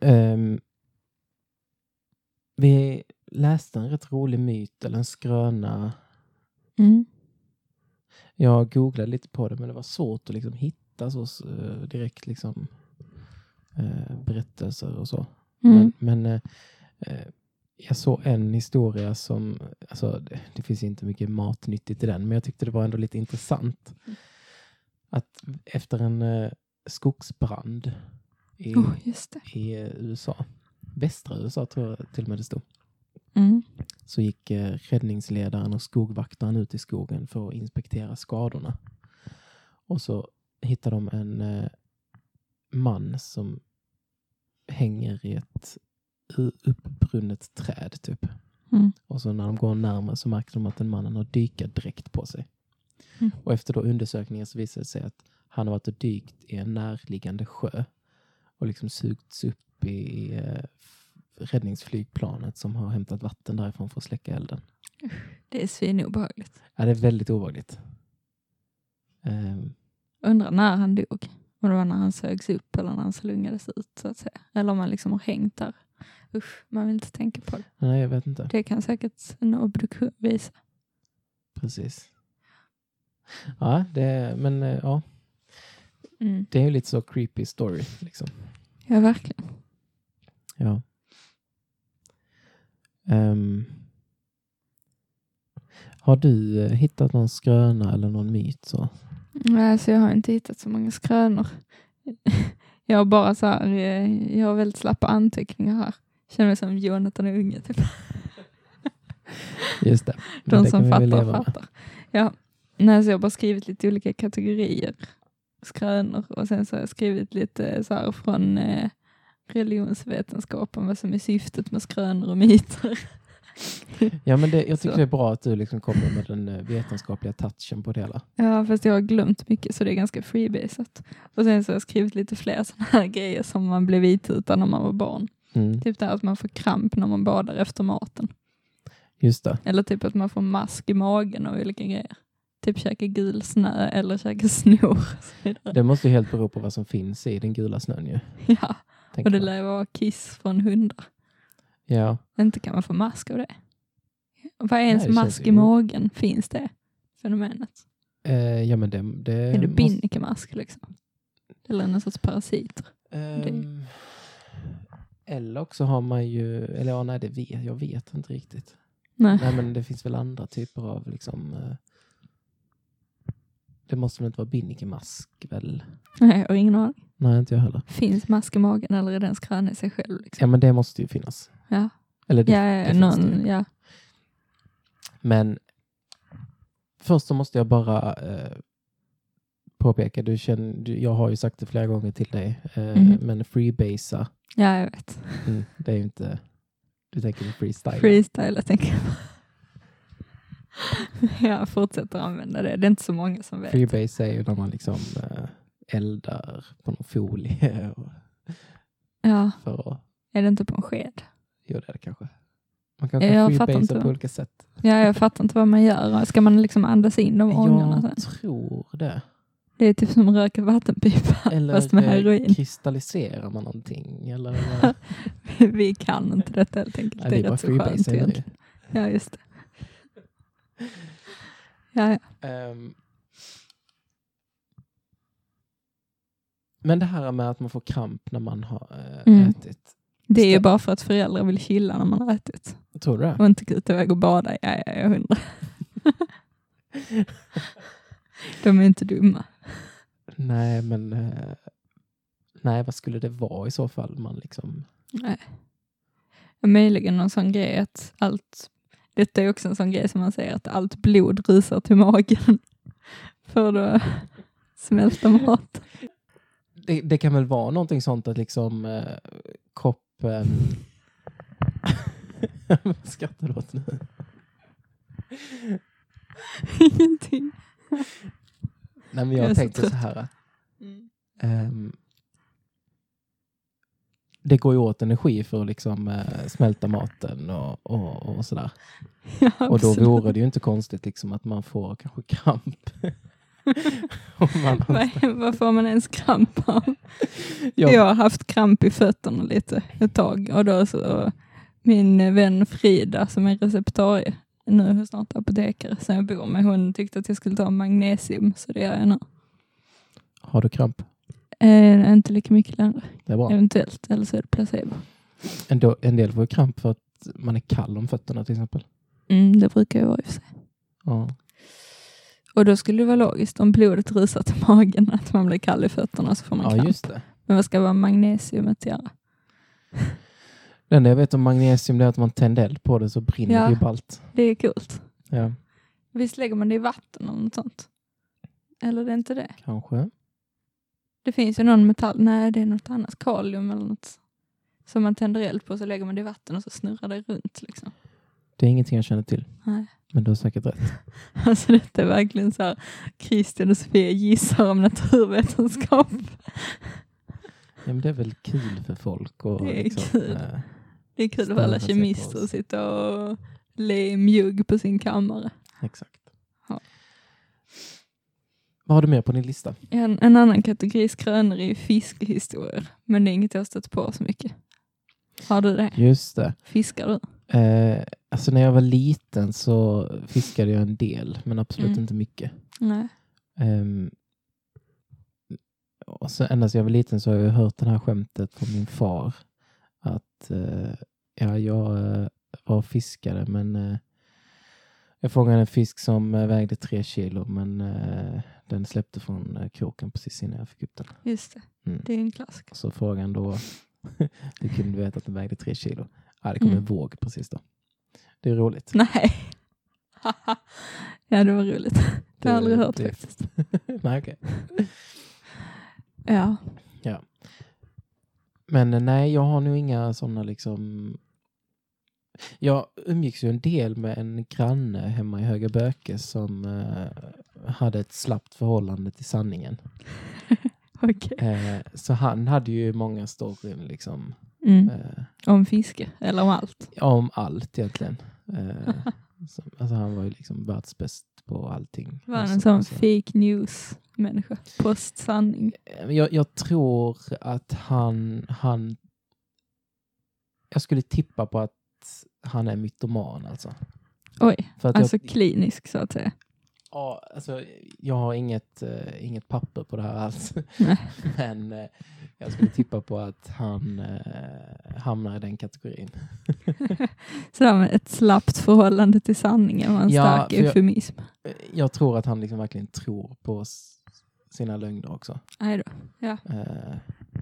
Speaker 2: Ehm, vi läste en rätt rolig myt, eller en skröna.
Speaker 1: Mm.
Speaker 2: Jag googlade lite på det, men det var svårt att liksom hitta så, så, eh, direkt liksom, eh, berättelser och så.
Speaker 1: Mm.
Speaker 2: Men, men eh, eh, jag såg en historia som, alltså, det, det finns inte mycket matnyttigt i den, men jag tyckte det var ändå lite intressant. Att efter en eh, skogsbrand i,
Speaker 1: Oh, just det.
Speaker 2: i eh, USA, västra USA tror jag till och med det stod,
Speaker 1: Mm.
Speaker 2: så gick eh, räddningsledaren och skogvaktaren ut i skogen för att inspektera skadorna. Och så hittade de en eh, man som hänger i ett u- uppbrunnet träd. typ.
Speaker 1: Mm.
Speaker 2: Och så när de går närmare så märker de att den mannen har dykardräkt på sig.
Speaker 1: Mm.
Speaker 2: Och efter då undersökningen så visade det sig att han har varit och dykt i en närliggande sjö och liksom sugits upp i eh, f- räddningsflygplanet som har hämtat vatten därifrån för att släcka elden.
Speaker 1: Det är svinobehagligt.
Speaker 2: Ja, det är väldigt obehagligt. Ehm,
Speaker 1: Undrar när han dog. Om det var när han sögs upp eller när han slungades ut så att säga. Eller om han liksom har hängt där. Usch, man vill inte tänka på det.
Speaker 2: nej, jag vet inte.
Speaker 1: Det kan säkert en obduktion visa.
Speaker 2: Precis. Ja, det är, men eh, ja,
Speaker 1: Mm.
Speaker 2: det är ju lite så creepy story. Liksom.
Speaker 1: Ja, verkligen.
Speaker 2: Ja. Ehm, har du eh, hittat någon skröna eller någon myt? Så?
Speaker 1: Nej, så jag har inte hittat så många skrönor. Jag har bara så här, eh, jag har väldigt slappa anteckningar här. Känner mig som Jonathan och Unge typ.
Speaker 2: Just det. Men
Speaker 1: De
Speaker 2: det
Speaker 1: som
Speaker 2: kan vi väl
Speaker 1: fattar
Speaker 2: leva med.
Speaker 1: fattar. Ja. Nej, så jag har bara skrivit lite olika kategorier, skrönor och sen så har jag skrivit lite så här från eh, religionsvetenskapen, vad som är syftet med skrönor och myter.
Speaker 2: Ja, men det, jag tycker
Speaker 1: Så.
Speaker 2: det är bra att du liksom kommer med den eh, vetenskapliga touchen på det hela.
Speaker 1: Ja, fast jag har glömt mycket så det är ganska freebasat. Och sen så har jag skrivit lite fler sådana här grejer som man blev vitutad när man var barn.
Speaker 2: Mm,
Speaker 1: Typ det här att man får kramp när man badar efter maten.
Speaker 2: just det.
Speaker 1: Eller typ att man får mask i magen och olika grejer. Typ käka gul snö eller käka snor. och så vidare.
Speaker 2: Det måste ju helt bero på vad som finns i den gula snön ju.
Speaker 1: Ja,
Speaker 2: tänker
Speaker 1: och det
Speaker 2: jag.
Speaker 1: lär vara kiss från hundar.
Speaker 2: Ja,
Speaker 1: Inte kan man få mask av det. Vad är ens
Speaker 2: det känns
Speaker 1: mask
Speaker 2: ju-
Speaker 1: i magen? Finns det fenomenet?
Speaker 2: eh, ja men det... det
Speaker 1: är det
Speaker 2: måste-
Speaker 1: binnikemask liksom? Eller någon sorts parasiter?
Speaker 2: Ehm, eller också har man ju, eller ja, nej det vet jag vet inte riktigt.
Speaker 1: Nej.
Speaker 2: Nej men det finns väl andra typer av liksom, eh, det måste väl inte vara binnikemask väl?
Speaker 1: Nej, jag har ingen aning.
Speaker 2: Nej inte jag heller.
Speaker 1: Finns mask i magen eller är den skrön i sig själv? Liksom?
Speaker 2: Ja men det måste ju finnas.
Speaker 1: Ja,
Speaker 2: Eller det,
Speaker 1: ja, ja,
Speaker 2: det finns det
Speaker 1: någon,
Speaker 2: ju.
Speaker 1: ja.
Speaker 2: Men först så måste jag bara eh, påpeka, du känner, du, jag har ju sagt det flera gånger till dig, eh,
Speaker 1: Mhm.
Speaker 2: men freebasa,
Speaker 1: ja, jag vet.
Speaker 2: mm, det är ju inte, du tänker på freestyle.
Speaker 1: Freestyle, jag tänker jag. Jag fortsätter använda det. Det är inte så många som vet.
Speaker 2: Freebase är ju när man liksom eh, eldar på någon folie och-
Speaker 1: Ja,
Speaker 2: för att
Speaker 1: är det inte på en sked?
Speaker 2: göra det kanske. Man kanske
Speaker 1: Jag fattar inte.
Speaker 2: freebasar på olika sätt.
Speaker 1: Ja, jag fattar inte vad man gör. Ska man liksom andas in de ångorna sen?
Speaker 2: Jag tror det.
Speaker 1: Det är typ som att röka vattenpipa
Speaker 2: Eller
Speaker 1: fast med
Speaker 2: eh,
Speaker 1: heroin.
Speaker 2: kristalliserar man någonting? Eller, eh, vad?
Speaker 1: Vi kan inte detta helt enkelt.
Speaker 2: nej,
Speaker 1: det
Speaker 2: vi
Speaker 1: är
Speaker 2: bara
Speaker 1: rätt så skönt
Speaker 2: freebasar nu.
Speaker 1: egentligen. Ja, just det. Ja, ja.
Speaker 2: Ehm. men det här med att man får kramp när man har eh,
Speaker 1: Mm.
Speaker 2: ätit.
Speaker 1: Det är ju
Speaker 2: Stäm-
Speaker 1: bara för att föräldrar vill chilla när man har ätit
Speaker 2: Tror du det?
Speaker 1: och inte gå ut iväg och bada. Ja, ja, jag undrar. De är inte dumma.
Speaker 2: Nej, men eh, nej, vad skulle det vara i så fall? Man liksom,
Speaker 1: Nej. Möjligen någon sån grej att allt, detta är också en sån grej som man säger att allt blod rusar till magen. För då smälter mat.
Speaker 2: det, det kan väl vara någonting sånt att liksom eh, kroppen... Vad skrattar du åt nu?
Speaker 1: Ingenting.
Speaker 2: Nej, men
Speaker 1: Jag är
Speaker 2: jag
Speaker 1: så
Speaker 2: tänkte
Speaker 1: trött. Mm.
Speaker 2: så här. ehm, det går ju åt energi för att liksom, eh, smälta maten och, och, och sådär.
Speaker 1: Ja,
Speaker 2: Och då
Speaker 1: absolut.
Speaker 2: vore det ju inte konstigt liksom, att man får kanske kramp. Om man,
Speaker 1: Vad- Vad får man ens kramp av?
Speaker 2: Ja.
Speaker 1: Jag har haft kramp i fötterna lite ett tag och då så min vän Frida som är receptarie, nu är hon snart apotekare som jag bor med, hon tyckte att jag skulle ta magnesium så det gör jag nu.
Speaker 2: har du kramp?
Speaker 1: Eh, inte lika mycket längre,
Speaker 2: Det är bra.
Speaker 1: eventuellt, eller så är det placebo.
Speaker 2: En, do- en del får ju kramp för att man är kall om fötterna till exempel.
Speaker 1: Mm, det brukar jag vara i och för sig.
Speaker 2: Ja.
Speaker 1: Och då skulle det vara logiskt om blodet rusar till magen att man blir kall i fötterna så får man
Speaker 2: ja,
Speaker 1: kramp.
Speaker 2: just det.
Speaker 1: Men vad ska vara magnesiumet göra?
Speaker 2: Det enda jag vet om magnesium det är att man tänder eld på det så brinner
Speaker 1: Ja.
Speaker 2: det ju ballt.
Speaker 1: Det är coolt.
Speaker 2: Ja,
Speaker 1: Visst lägger man det i vatten eller något sånt? Eller är det inte det?
Speaker 2: kanske.
Speaker 1: Det finns ju någon metall, nej det är något annat, kalium eller något som man tänder eld på så lägger man det i vatten och så snurrar det runt liksom.
Speaker 2: Det är ingenting jag känner till.
Speaker 1: Nej.
Speaker 2: Men du har säkert rätt.
Speaker 1: Alltså detta är verkligen så här, Christian och Sofia gissar om naturvetenskap.
Speaker 2: Ja, men det är väl kul för folk. Och,
Speaker 1: Det är
Speaker 2: liksom,
Speaker 1: kul.
Speaker 2: eh,
Speaker 1: Det är kul för alla
Speaker 2: Snurrar sig på
Speaker 1: kemister att
Speaker 2: oss.
Speaker 1: sitta och le mjugg på sin kammare.
Speaker 2: exakt.
Speaker 1: Ja.
Speaker 2: Vad har du mer på din lista?
Speaker 1: En, en annan kategori skrönor är ju fiskehistorier, men det är inget jag har stött på så mycket. Har du det?
Speaker 2: Just det.
Speaker 1: Fiskar du?
Speaker 2: Eh, alltså när jag var liten så fiskade jag en del, men absolut
Speaker 1: Mm.
Speaker 2: inte mycket.
Speaker 1: Nej.
Speaker 2: Ehm, och så ända sedan jag var liten så har jag hört det här skämtet från min far. Att eh, ja, jag eh, var fiskare men eh, jag fångade en fisk som eh, vägde tre kilo men eh, den släppte från eh, kroken precis innan jag fick upp den.
Speaker 1: Just det,
Speaker 2: Mm.
Speaker 1: det är en klassiker.
Speaker 2: Så frågan då, hur kunde du veta att den vägde tre kilo? Ja, det kom
Speaker 1: Mm.
Speaker 2: en våg precis då. Det är roligt.
Speaker 1: Nej. ja, det var roligt. Det har jag aldrig hört
Speaker 2: det-
Speaker 1: faktiskt.
Speaker 2: Nej, okej.
Speaker 1: Ja.
Speaker 2: Men eh, nej, jag har nog inga sådana liksom... Jag umgicks ju en del med en granne hemma i Höga Böke som eh, hade ett slappt förhållande till sanningen.
Speaker 1: Okej.
Speaker 2: Eh, så han hade ju många storyn liksom,
Speaker 1: Mm.
Speaker 2: eh,
Speaker 1: Om fiske, eller om allt.
Speaker 2: om allt egentligen. Eh, som, alltså han var ju liksom världsbäst på allting.
Speaker 1: Var han
Speaker 2: Alltså,
Speaker 1: en sån
Speaker 2: alltså,
Speaker 1: fake news-människa? Postsanning?
Speaker 2: eh, jag, jag tror att han, han... Jag skulle tippa på att han är mytoman alltså.
Speaker 1: Oj,
Speaker 2: För att
Speaker 1: alltså
Speaker 2: jag,
Speaker 1: klinisk så att säga.
Speaker 2: ja, alltså, jag har inget, eh, inget papper på det här alls.
Speaker 1: Nej.
Speaker 2: Men eh, jag skulle tippa på att han eh, hamnar i den kategorin.
Speaker 1: Sådär med ett slappt förhållande till sanningen var en
Speaker 2: Ja,
Speaker 1: stark
Speaker 2: för jag-
Speaker 1: eufemism.
Speaker 2: Eh, Jag tror att han liksom verkligen tror på s- sina lögner också.
Speaker 1: Nej då.
Speaker 2: Eh,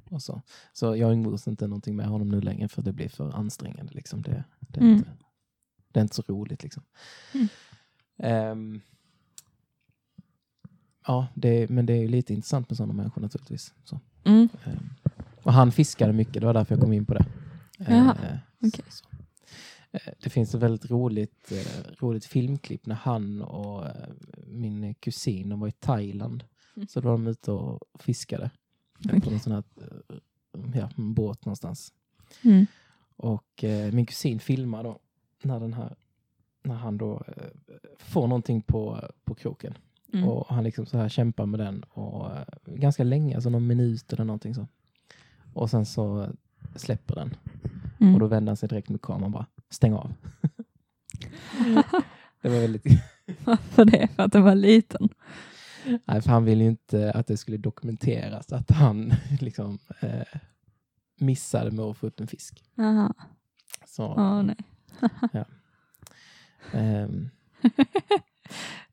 Speaker 2: och så. så jag umgås inte någonting med honom nu längre för det blir för ansträngande. Liksom. Det, det, är
Speaker 1: Mm.
Speaker 2: inte, det är inte så roligt. Liksom.
Speaker 1: Mm.
Speaker 2: Ehm, ja, det, men det är ju lite intressant med sådana människor naturligtvis. Så.
Speaker 1: Mm.
Speaker 2: Ehm, Och han fiskade mycket, det var därför jag kom in på det. Ehm,
Speaker 1: Jaha,
Speaker 2: så-
Speaker 1: okej.
Speaker 2: så. Ehm, Det finns ett väldigt roligt, eh, roligt filmklipp när han och eh, min kusin, de var i Thailand.
Speaker 1: Mm.
Speaker 2: Så då var de ute och fiskade på
Speaker 1: Okej.
Speaker 2: någon sån här eh, ja, en båt någonstans.
Speaker 1: Mm.
Speaker 2: Och eh, min kusin filmar då när, den här, när han då eh, får någonting på, på kroken.
Speaker 1: Mm.
Speaker 2: Och han liksom så här kämpar med den och eh, ganska länge, alltså någon minut eller någonting så. Och sen så släpper den
Speaker 1: Mm.
Speaker 2: och då vänder han sig direkt mot kameran och bara stäng av. det var väldigt...
Speaker 1: Mm. Varför det? För att den var liten?
Speaker 2: Nej, för han ville ju inte att det skulle dokumenteras att han liksom eh, missade med att få upp en fisk.
Speaker 1: Aha.
Speaker 2: Så,
Speaker 1: Ja, nej.
Speaker 2: ehm,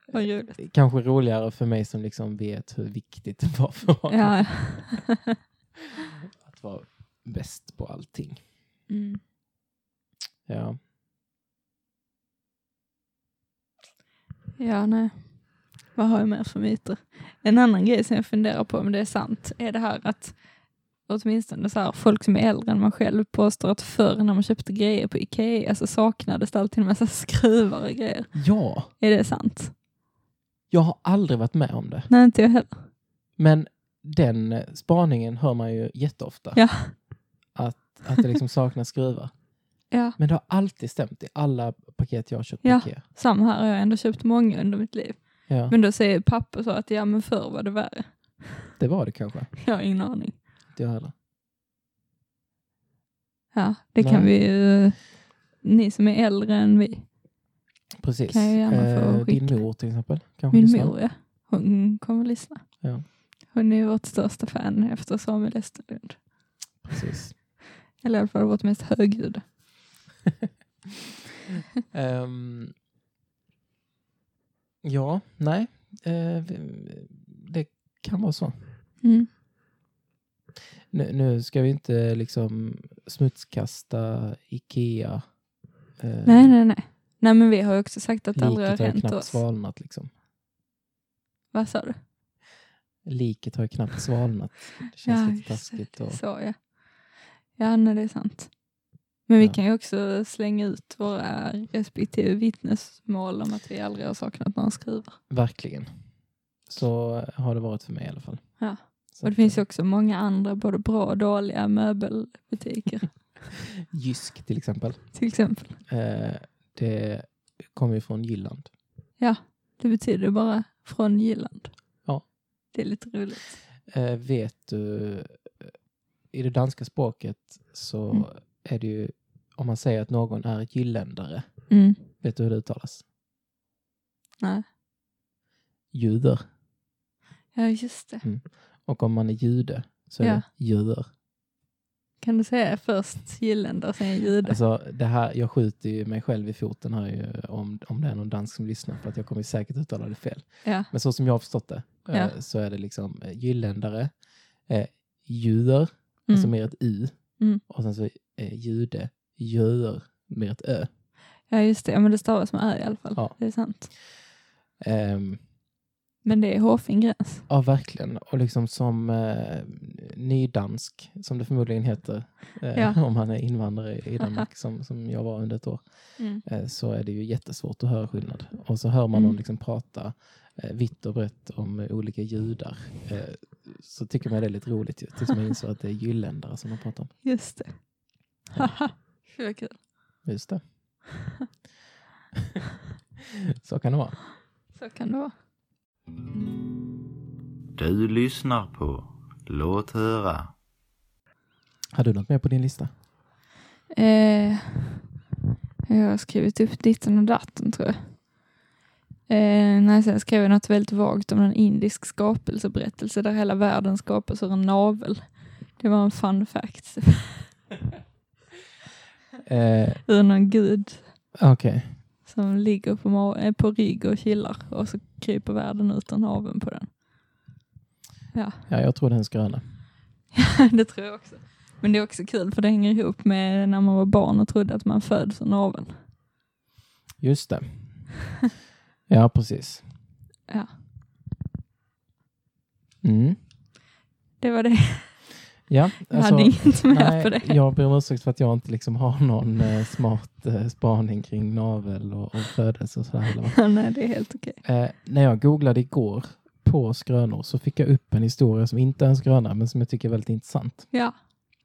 Speaker 1: Vad roligt.
Speaker 2: Kanske roligare för mig som liksom vet hur viktigt det var för honom
Speaker 1: Ja.
Speaker 2: att vara bäst på allting.
Speaker 1: Mm.
Speaker 2: Ja.
Speaker 1: ja, nej. Vad har jag mer för myter? En annan grej som jag funderar på om det är sant är det här att åtminstone så här, folk som är äldre än man själv påstår att förr när man köpte grejer på Ikea så saknades det alltid en massa skruvar och grejer.
Speaker 2: ja,
Speaker 1: Är det sant?
Speaker 2: jag har aldrig varit med om det.
Speaker 1: Nej, inte jag heller.
Speaker 2: Men den eh, spaningen hör man ju jätteofta.
Speaker 1: Ja.
Speaker 2: Att, att det liksom saknas skruvar.
Speaker 1: Ja,
Speaker 2: Men det har alltid stämt i alla paket jag har köpt på
Speaker 1: Ja.
Speaker 2: Ikea.
Speaker 1: samma här. Jag har ändå köpt många under mitt liv.
Speaker 2: Ja,
Speaker 1: Men då säger pappa så att ja, men förr var det värre.
Speaker 2: det var det kanske.
Speaker 1: Jag har ingen aning.
Speaker 2: Inte jag heller.
Speaker 1: Ja, det
Speaker 2: Nej.
Speaker 1: kan vi ju... Ni som är äldre än vi.
Speaker 2: Precis.
Speaker 1: Kan jag gärna få
Speaker 2: Eh,
Speaker 1: skicka.
Speaker 2: din mor till exempel. Kanske
Speaker 1: Min
Speaker 2: lyssnar.
Speaker 1: mor, ja. Hon kommer lyssna.
Speaker 2: Ja.
Speaker 1: Hon är ju vårt största fan efter Samuel Esterlund.
Speaker 2: Precis.
Speaker 1: Eller i alla fall vårt mest högljudda.
Speaker 2: Ehm, ja, nej. Eh, vi- det kan vara så. Eh.
Speaker 1: Mm.
Speaker 2: Nu, nu ska vi inte liksom smutskasta Ikea. Eh,
Speaker 1: Nej, nej, nej. Nej, men vi har ju också sagt att det aldrig har
Speaker 2: Liket har ju
Speaker 1: hänt
Speaker 2: knappt
Speaker 1: oss.
Speaker 2: svalnat. Liksom.
Speaker 1: Vad sa du?
Speaker 2: Liket har ju knappt svalnat. Det känns lite
Speaker 1: just det.
Speaker 2: taskigt. Och,
Speaker 1: Så, ja. Ja, nej, det är sant. Men vi
Speaker 2: Ja.
Speaker 1: kan ju också slänga ut våra respektive vittnesmål om att vi aldrig har saknat några skruvar.
Speaker 2: verkligen. Så har det varit för mig i alla fall.
Speaker 1: Ja.
Speaker 2: Så
Speaker 1: Och det
Speaker 2: att,
Speaker 1: finns
Speaker 2: eh,
Speaker 1: ju också många andra, både bra och dåliga möbelbutiker
Speaker 2: eh, Jysk till exempel.
Speaker 1: till exempel.
Speaker 2: Eh, det kommer ju från Jylland.
Speaker 1: Det betyder bara från Jylland.
Speaker 2: Ja.
Speaker 1: Det är lite roligt.
Speaker 2: Eh, vet du, eh, i det danska språket så
Speaker 1: Mm.
Speaker 2: är det ju, om man säger att någon är gylländare,
Speaker 1: Mm.
Speaker 2: vet du hur det uttalas?
Speaker 1: Nej.
Speaker 2: Juder.
Speaker 1: Ja, just det.
Speaker 2: Och om man är jude så är
Speaker 1: Ja.
Speaker 2: det juder.
Speaker 1: Kan du säga först Jylländer, sen jude?
Speaker 2: Alltså, det här, jag skjuter ju mig själv i foten här ju, om, om det är någon dansk som lyssnar för att jag kommer säkert uttala det fel.
Speaker 1: Ja.
Speaker 2: Men så som jag har förstått det eh,
Speaker 1: Ja.
Speaker 2: så är det liksom eh, gylländare, eh, juder, alltså
Speaker 1: Mm.
Speaker 2: mer ett u,
Speaker 1: Mm.
Speaker 2: och sen så eh, jude, juder, mer ett ö.
Speaker 1: Ja, just det. Ja, men det stavas med ö i alla fall.
Speaker 2: Ja.
Speaker 1: Det är sant.
Speaker 2: Ehm,
Speaker 1: Men det är hårfingräns.
Speaker 2: Ja, verkligen. Och liksom som eh, nydansk, som det förmodligen heter eh,
Speaker 1: Ja.
Speaker 2: om man är invandrare i Danmark, som, som jag var under ett år,
Speaker 1: Mm.
Speaker 2: eh, så är det ju jättesvårt att höra skillnad. Och så hör man någon
Speaker 1: Mm.
Speaker 2: liksom prata eh, vitt och brett om eh, olika judar, eh, så tycker man det är lite roligt ju, tills man inser att det är jylländare som man pratar om.
Speaker 1: Just det. Haha, Fy vad kul.
Speaker 2: Just det. så kan det vara.
Speaker 1: Så kan det vara.
Speaker 3: Du lyssnar på Låt höra.
Speaker 2: Har du något mer på din lista?
Speaker 1: Eh, jag har skrivit upp ditten och datten tror jag. Eh, nej, sen skrev jag något väldigt vagt om en indisk skapelseberättelse där hela världen skapas ur en navel. Det var en fun fact.
Speaker 2: Eh,
Speaker 1: Ur någon gud
Speaker 2: Okej.
Speaker 1: som ligger på, ma- eh, på rygg och chillar och så kryper världen ut ur naveln på den.
Speaker 2: Ja, jag tror den gröna.
Speaker 1: det tror jag också. Men det är också kul för det hänger ihop med när man var barn och trodde att man föds ur naveln.
Speaker 2: Just det. Ja, precis.
Speaker 1: Ja.
Speaker 2: Mm.
Speaker 1: Det var det.
Speaker 2: Ja,
Speaker 1: Jag hade inget mer på det.
Speaker 2: Alltså, nej, jag ber om ursäkt för att jag inte liksom har någon eh, smart eh, spaning kring navel och, och födelse och sådär. heller.
Speaker 1: nej, det är helt okej.
Speaker 2: Eh, när jag googlade igår på skrönor så fick jag upp en historia som inte är en skröna men som jag tycker är väldigt intressant.
Speaker 1: Ja,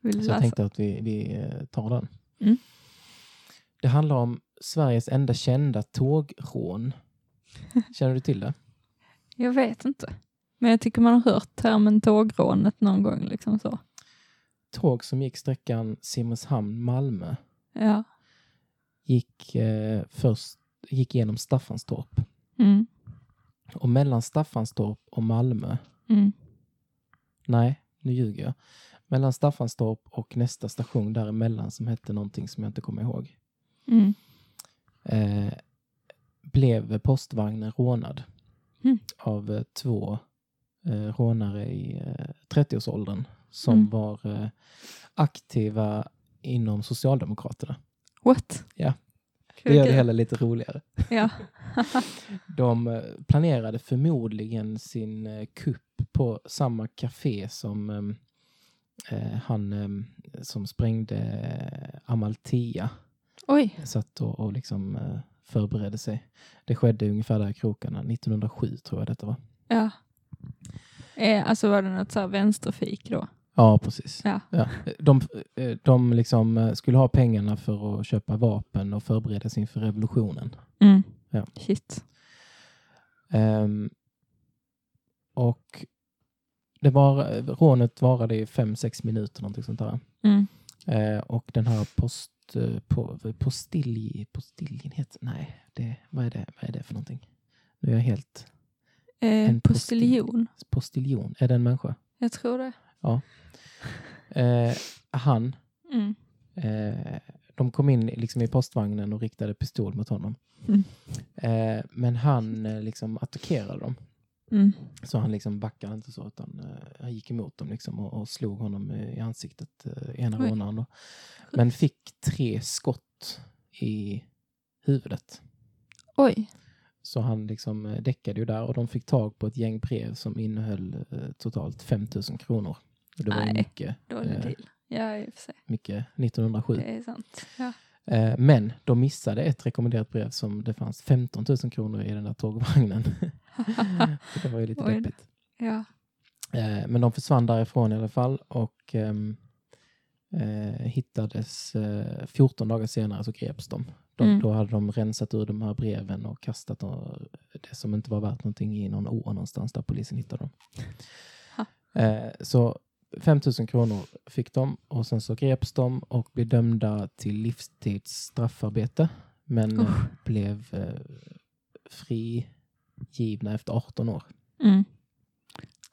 Speaker 1: vill du
Speaker 2: Så Alltså, jag
Speaker 1: läsa?
Speaker 2: tänkte att vi, vi eh, tar den.
Speaker 1: Mm.
Speaker 2: Det handlar om Sveriges enda kända tågrån. Känner du till det?
Speaker 1: Jag vet inte. Men jag tycker man har hört termen tågrånet någon gång. Liksom så.
Speaker 2: tåg som gick sträckan Simrishamn-Malmö
Speaker 1: Ja.
Speaker 2: gick, eh, först, gick genom Staffanstorp.
Speaker 1: Mm.
Speaker 2: Och mellan Staffanstorp och Malmö,
Speaker 1: Mm.
Speaker 2: nej, nu ljuger jag. Mellan Staffanstorp och nästa station däremellan som hette någonting som jag inte kommer ihåg,
Speaker 1: Mm.
Speaker 2: eh, blev postvagnen rånad
Speaker 1: Mm.
Speaker 2: av eh, två eh, rånare i eh, 30-årsåldern som
Speaker 1: Mm.
Speaker 2: var eh, aktiva inom Socialdemokraterna.
Speaker 1: What?
Speaker 2: Ja. Det
Speaker 1: Kul,
Speaker 2: gör det
Speaker 1: kul.
Speaker 2: hela lite roligare.
Speaker 1: Ja.
Speaker 2: De eh, planerade förmodligen sin eh, kupp på samma café som ehm, eh, han ehm, som sprängde eh, Amalthea
Speaker 1: Oj.
Speaker 2: satt och, och liksom eh, förberedde sig. Det skedde ungefär där i krokarna, 1907 tror jag detta var.
Speaker 1: Ja. Eh, alltså var det något så här vänsterfik då?
Speaker 2: Ja, precis.
Speaker 1: Ja.
Speaker 2: Ja. De, eh, de liksom eh, skulle ha pengarna för att köpa vapen och förbereda sig inför revolutionen.
Speaker 1: Mm.
Speaker 2: Ja.
Speaker 1: Shit.
Speaker 2: Ehm, och det var, rånet varade i fem sex minuter, någonting sånt där.
Speaker 1: Mm.
Speaker 2: Eh, och den här post, eh, po, postilj, postiljen heter, nej, det, vad, är det, vad är det för någonting? Nu är jag helt
Speaker 1: Eh,
Speaker 2: En postil-
Speaker 1: postiljon.
Speaker 2: postiljon. Är det en människa?
Speaker 1: Jag tror det.
Speaker 2: Eh, han,
Speaker 1: Mm.
Speaker 2: eh, de kom in liksom i postvagnen och riktade pistol mot honom.
Speaker 1: Mm.
Speaker 2: Eh, men han eh, liksom attackerade dem.
Speaker 1: Mm.
Speaker 2: Så han liksom backade inte så, utan eh, han gick emot dem liksom och, och slog honom eh, i ansiktet, eh, ena
Speaker 1: Oj.
Speaker 2: rånaren. då. Men fick tre skott i huvudet.
Speaker 1: Oj.
Speaker 2: Så han liksom eh, däckade ju där och de fick tag på ett gäng brev som innehöll eh, totalt 5 000 kronor. Och det var ju
Speaker 1: Nej.
Speaker 2: mycket,
Speaker 1: Dålig
Speaker 2: Eh.
Speaker 1: deal. Ja, i och för sig.
Speaker 2: mycket 1907.
Speaker 1: Det är sant. Ja.
Speaker 2: Eh, Men de missade ett rekommenderat brev som det fanns 15 000 kronor i den där tågvagnen. Så det var ju lite
Speaker 1: Oj då.
Speaker 2: deppigt.
Speaker 1: ja.
Speaker 2: Eh, Men de försvann därifrån i alla fall och ehm, eh, hittades eh, 14 dagar senare så greps de. de
Speaker 1: Mm.
Speaker 2: Då hade de rensat ur de här breven och kastat de- det som inte var värt någonting i någon å någonstans där polisen hittade dem.
Speaker 1: Ha.
Speaker 2: Eh, så 5 000 kronor fick de och sen så greps de och blev dömda till livstids straffarbete. Men eh,
Speaker 1: Usch.
Speaker 2: blev eh, frigivna efter 18 år.
Speaker 1: Mm.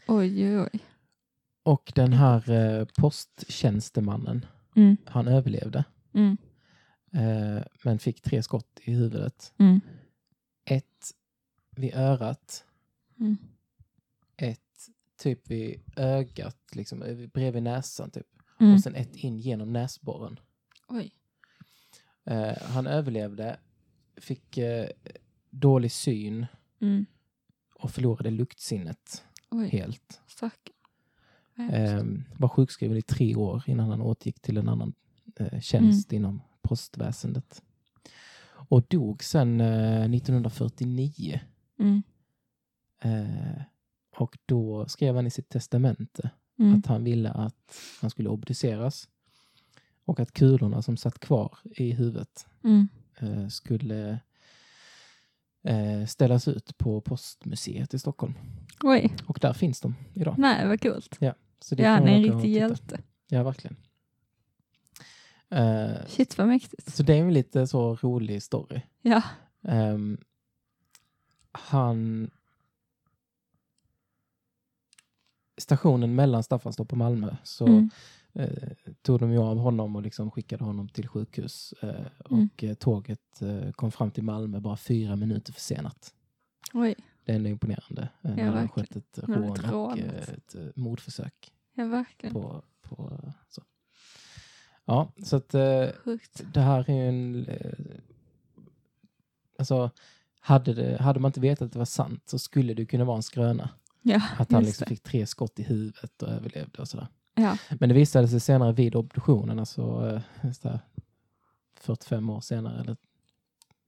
Speaker 1: Oj, oj, oj.
Speaker 2: Och den här eh, posttjänstemannen,
Speaker 1: Mm.
Speaker 2: han överlevde.
Speaker 1: Mm.
Speaker 2: Eh, men fick tre skott i huvudet.
Speaker 1: Mm.
Speaker 2: Ett vid örat,
Speaker 1: Mm.
Speaker 2: ett typ vid ögat, liksom, eh, bredvid näsan typ.
Speaker 1: Mm.
Speaker 2: Och sen ett in genom näsborren.
Speaker 1: Oj.
Speaker 2: Eh, han överlevde, fick eh, dålig syn
Speaker 1: Mm.
Speaker 2: och förlorade luktsinnet
Speaker 1: Oj.
Speaker 2: helt.
Speaker 1: Stackarn.
Speaker 2: Eh, var sjukskriven i tre år innan han återgick till en annan eh, tjänst
Speaker 1: Mm.
Speaker 2: inom postväsendet. Och dog sen eh, 1949.
Speaker 1: Mm.
Speaker 2: Eh, och då skrev han i sitt testamente
Speaker 1: Mm.
Speaker 2: att han ville att han skulle obduceras och att kulorna som satt kvar i huvudet
Speaker 1: Mm.
Speaker 2: eh, skulle eh, ställas ut på Postmuseet i Stockholm.
Speaker 1: Oj.
Speaker 2: Och där finns de idag.
Speaker 1: Nej, vad kul.
Speaker 2: Så det
Speaker 1: Ja,
Speaker 2: kan
Speaker 1: han
Speaker 2: man
Speaker 1: är en
Speaker 2: åka och
Speaker 1: riktig
Speaker 2: titta.
Speaker 1: hjälte.
Speaker 2: Ja, verkligen. Eh,
Speaker 1: Shit, vad mäktigt.
Speaker 2: så det är en lite så rolig story.
Speaker 1: Ja.
Speaker 2: Ehm, han... Stationen mellan Staffanstorp och Malmö så
Speaker 1: Mm.
Speaker 2: eh, tog de ju av honom och liksom skickade honom till sjukhus. Eh,
Speaker 1: Mm.
Speaker 2: Och eh, tåget eh, kom fram till Malmö bara fyra minuter försenat.
Speaker 1: Oj.
Speaker 2: Det är ändå imponerande. Eh, när det har
Speaker 1: verkligen.
Speaker 2: skett
Speaker 1: När
Speaker 2: ett
Speaker 1: det
Speaker 2: rån
Speaker 1: har blivit
Speaker 2: och eh,
Speaker 1: rånat.
Speaker 2: ett eh, mordförsök.
Speaker 1: Ja, verkligen.
Speaker 2: På, på, så. Ja, så att eh,
Speaker 1: Sjukt.
Speaker 2: det här är ju en... eh, Alltså, hade, det, hade man inte vetat att det var sant så skulle det kunna vara en skröna.
Speaker 1: Ja,
Speaker 2: Att han
Speaker 1: just
Speaker 2: liksom
Speaker 1: det.
Speaker 2: fick tre skott i huvudet och överlevde och sådär.
Speaker 1: Ja.
Speaker 2: Men det visade sig senare vid obduktionen, alltså eh, så här 45 år senare eller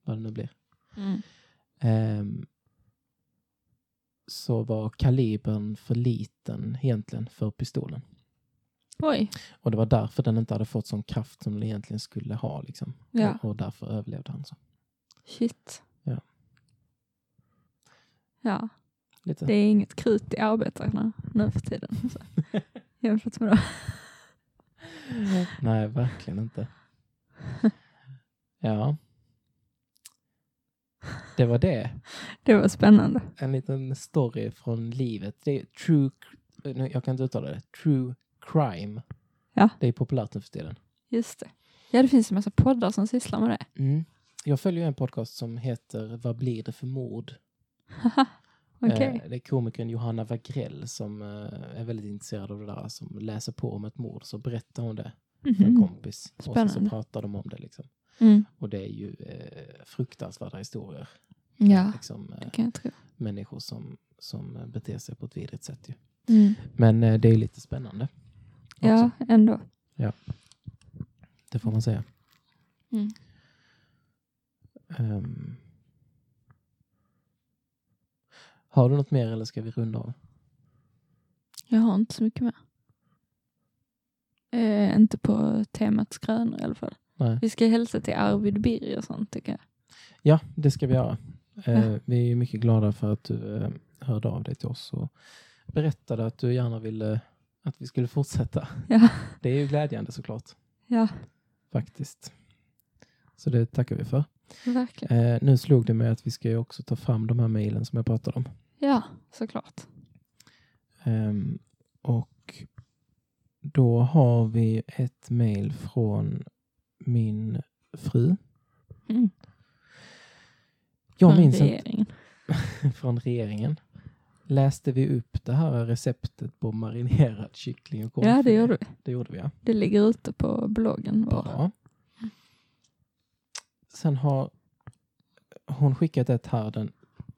Speaker 2: vad det nu blir,
Speaker 1: Mm.
Speaker 2: ehm, så var kalibern för liten egentligen för pistolen.
Speaker 1: Oj.
Speaker 2: Och det var därför den inte hade fått sån kraft som den egentligen skulle ha. Liksom.
Speaker 1: Ja.
Speaker 2: Och, och därför överlevde han. Så.
Speaker 1: Shit.
Speaker 2: Ja.
Speaker 1: Ja,
Speaker 2: Lite.
Speaker 1: det är inget krut i arbetarna nu för tiden. Så. Jämfört med då.
Speaker 2: Nej, verkligen inte. Ja. Det var det.
Speaker 1: Det var spännande.
Speaker 2: En liten story från livet. Det är true... nu, Jag kan inte uttala det. True crime.
Speaker 1: Ja.
Speaker 2: Det är populärt nu för tiden.
Speaker 1: Just det. Ja, det finns en massa poddar som sysslar med det.
Speaker 2: Mm. Jag följer ju en podcast som heter Vad blir det för mord?
Speaker 1: Okej.
Speaker 2: Eh, Det är komikern Johanna Wagrell som eh, är väldigt intresserad av det där, som läser på om ett mord, så berättar hon det för en
Speaker 1: Mhm.
Speaker 2: kompis. Och sen så
Speaker 1: Spännande.
Speaker 2: pratar de om det. Liksom.
Speaker 1: Mm.
Speaker 2: Och det är ju eh, fruktansvärda historier.
Speaker 1: Ja,
Speaker 2: Liksom, eh,
Speaker 1: det kan jag tro.
Speaker 2: Människor som, som eh, beter sig på ett vidrigt sätt. Ju.
Speaker 1: Mm.
Speaker 2: Men eh, det är lite spännande. Också,
Speaker 1: Ja, ändå.
Speaker 2: Det får man säga.
Speaker 1: Mm.
Speaker 2: Ehm. har du något mer eller ska vi runda av?
Speaker 1: Jag har inte så mycket mer. Eh, inte på temat skrönor i alla fall.
Speaker 2: Nej.
Speaker 1: Vi ska hälsa till Arvid Birger och sånt tycker jag.
Speaker 2: Ja, det ska vi göra. Eh,
Speaker 1: Ja.
Speaker 2: Vi är ju mycket glada för att du eh, hörde av dig till oss och berättade att du gärna ville att vi skulle fortsätta.
Speaker 1: Ja.
Speaker 2: Det är ju glädjande såklart,
Speaker 1: Ja,
Speaker 2: faktiskt. Så det tackar vi för.
Speaker 1: verkligen.
Speaker 2: Eh, nu slog det mig att vi ska ju också ta fram de här mejlen som jag pratade om.
Speaker 1: Ja, såklart.
Speaker 2: Ehm, och då har vi ett mejl från min fru.
Speaker 1: Mm.
Speaker 2: Jag
Speaker 1: Från
Speaker 2: minns inte
Speaker 1: regeringen.
Speaker 2: från regeringen. Läste vi upp det här receptet på marinerad kyckling och
Speaker 1: Ja, det gjorde vi.
Speaker 2: Det gjorde vi, ja.
Speaker 1: Det ligger ute på bloggen. Var.
Speaker 2: Bra. Sen har hon skickat ett här den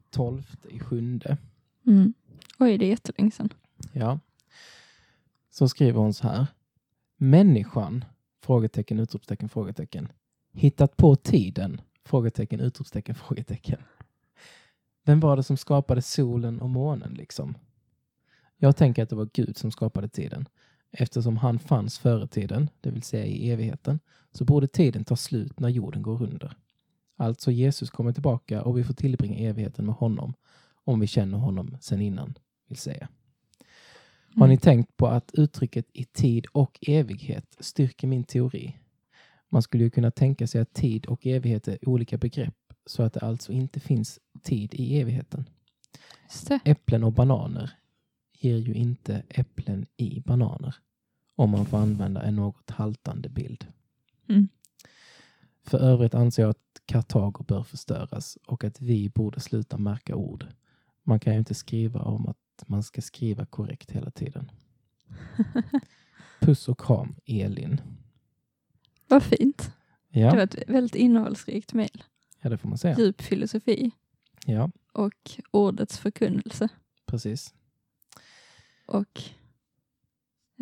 Speaker 2: 12 i sjunde.
Speaker 1: Mm. Oj, det är jättelänge sedan.
Speaker 2: Ja. Så skriver hon så här. Människan? Frågetecken, utropstecken, frågetecken. Hittat på tiden? Frågetecken, utropstecken, frågetecken. Vem var det som skapade solen och månen liksom? Jag tänker att det var Gud som skapade tiden. Eftersom han fanns före tiden, det vill säga i evigheten, så borde tiden ta slut när jorden går under. Alltså Jesus kommer tillbaka och vi får tillbringa evigheten med honom, om vi känner honom sen innan, vill säga. Har ni tänkt på att uttrycket i tid och evighet styrker min teori? Man skulle ju kunna tänka sig att tid och evighet är olika begrepp så att det alltså inte finns tid i evigheten.
Speaker 1: Just det.
Speaker 2: Äpplen och bananer ger ju inte äpplen i bananer om man får använda en något haltande bild.
Speaker 1: Mm.
Speaker 2: För övrigt anser jag att Kartago bör förstöras och att vi borde sluta märka ord. Man kan ju inte skriva om att man ska skriva korrekt hela tiden. Puss och kram, Elin.
Speaker 1: Vad fint. Det var
Speaker 2: Ja,
Speaker 1: ett väldigt innehållsrikt mejl.
Speaker 2: ja det får man säga.
Speaker 1: Djup filosofi
Speaker 2: Ja,
Speaker 1: och ordets förkunnelse
Speaker 2: precis.
Speaker 1: och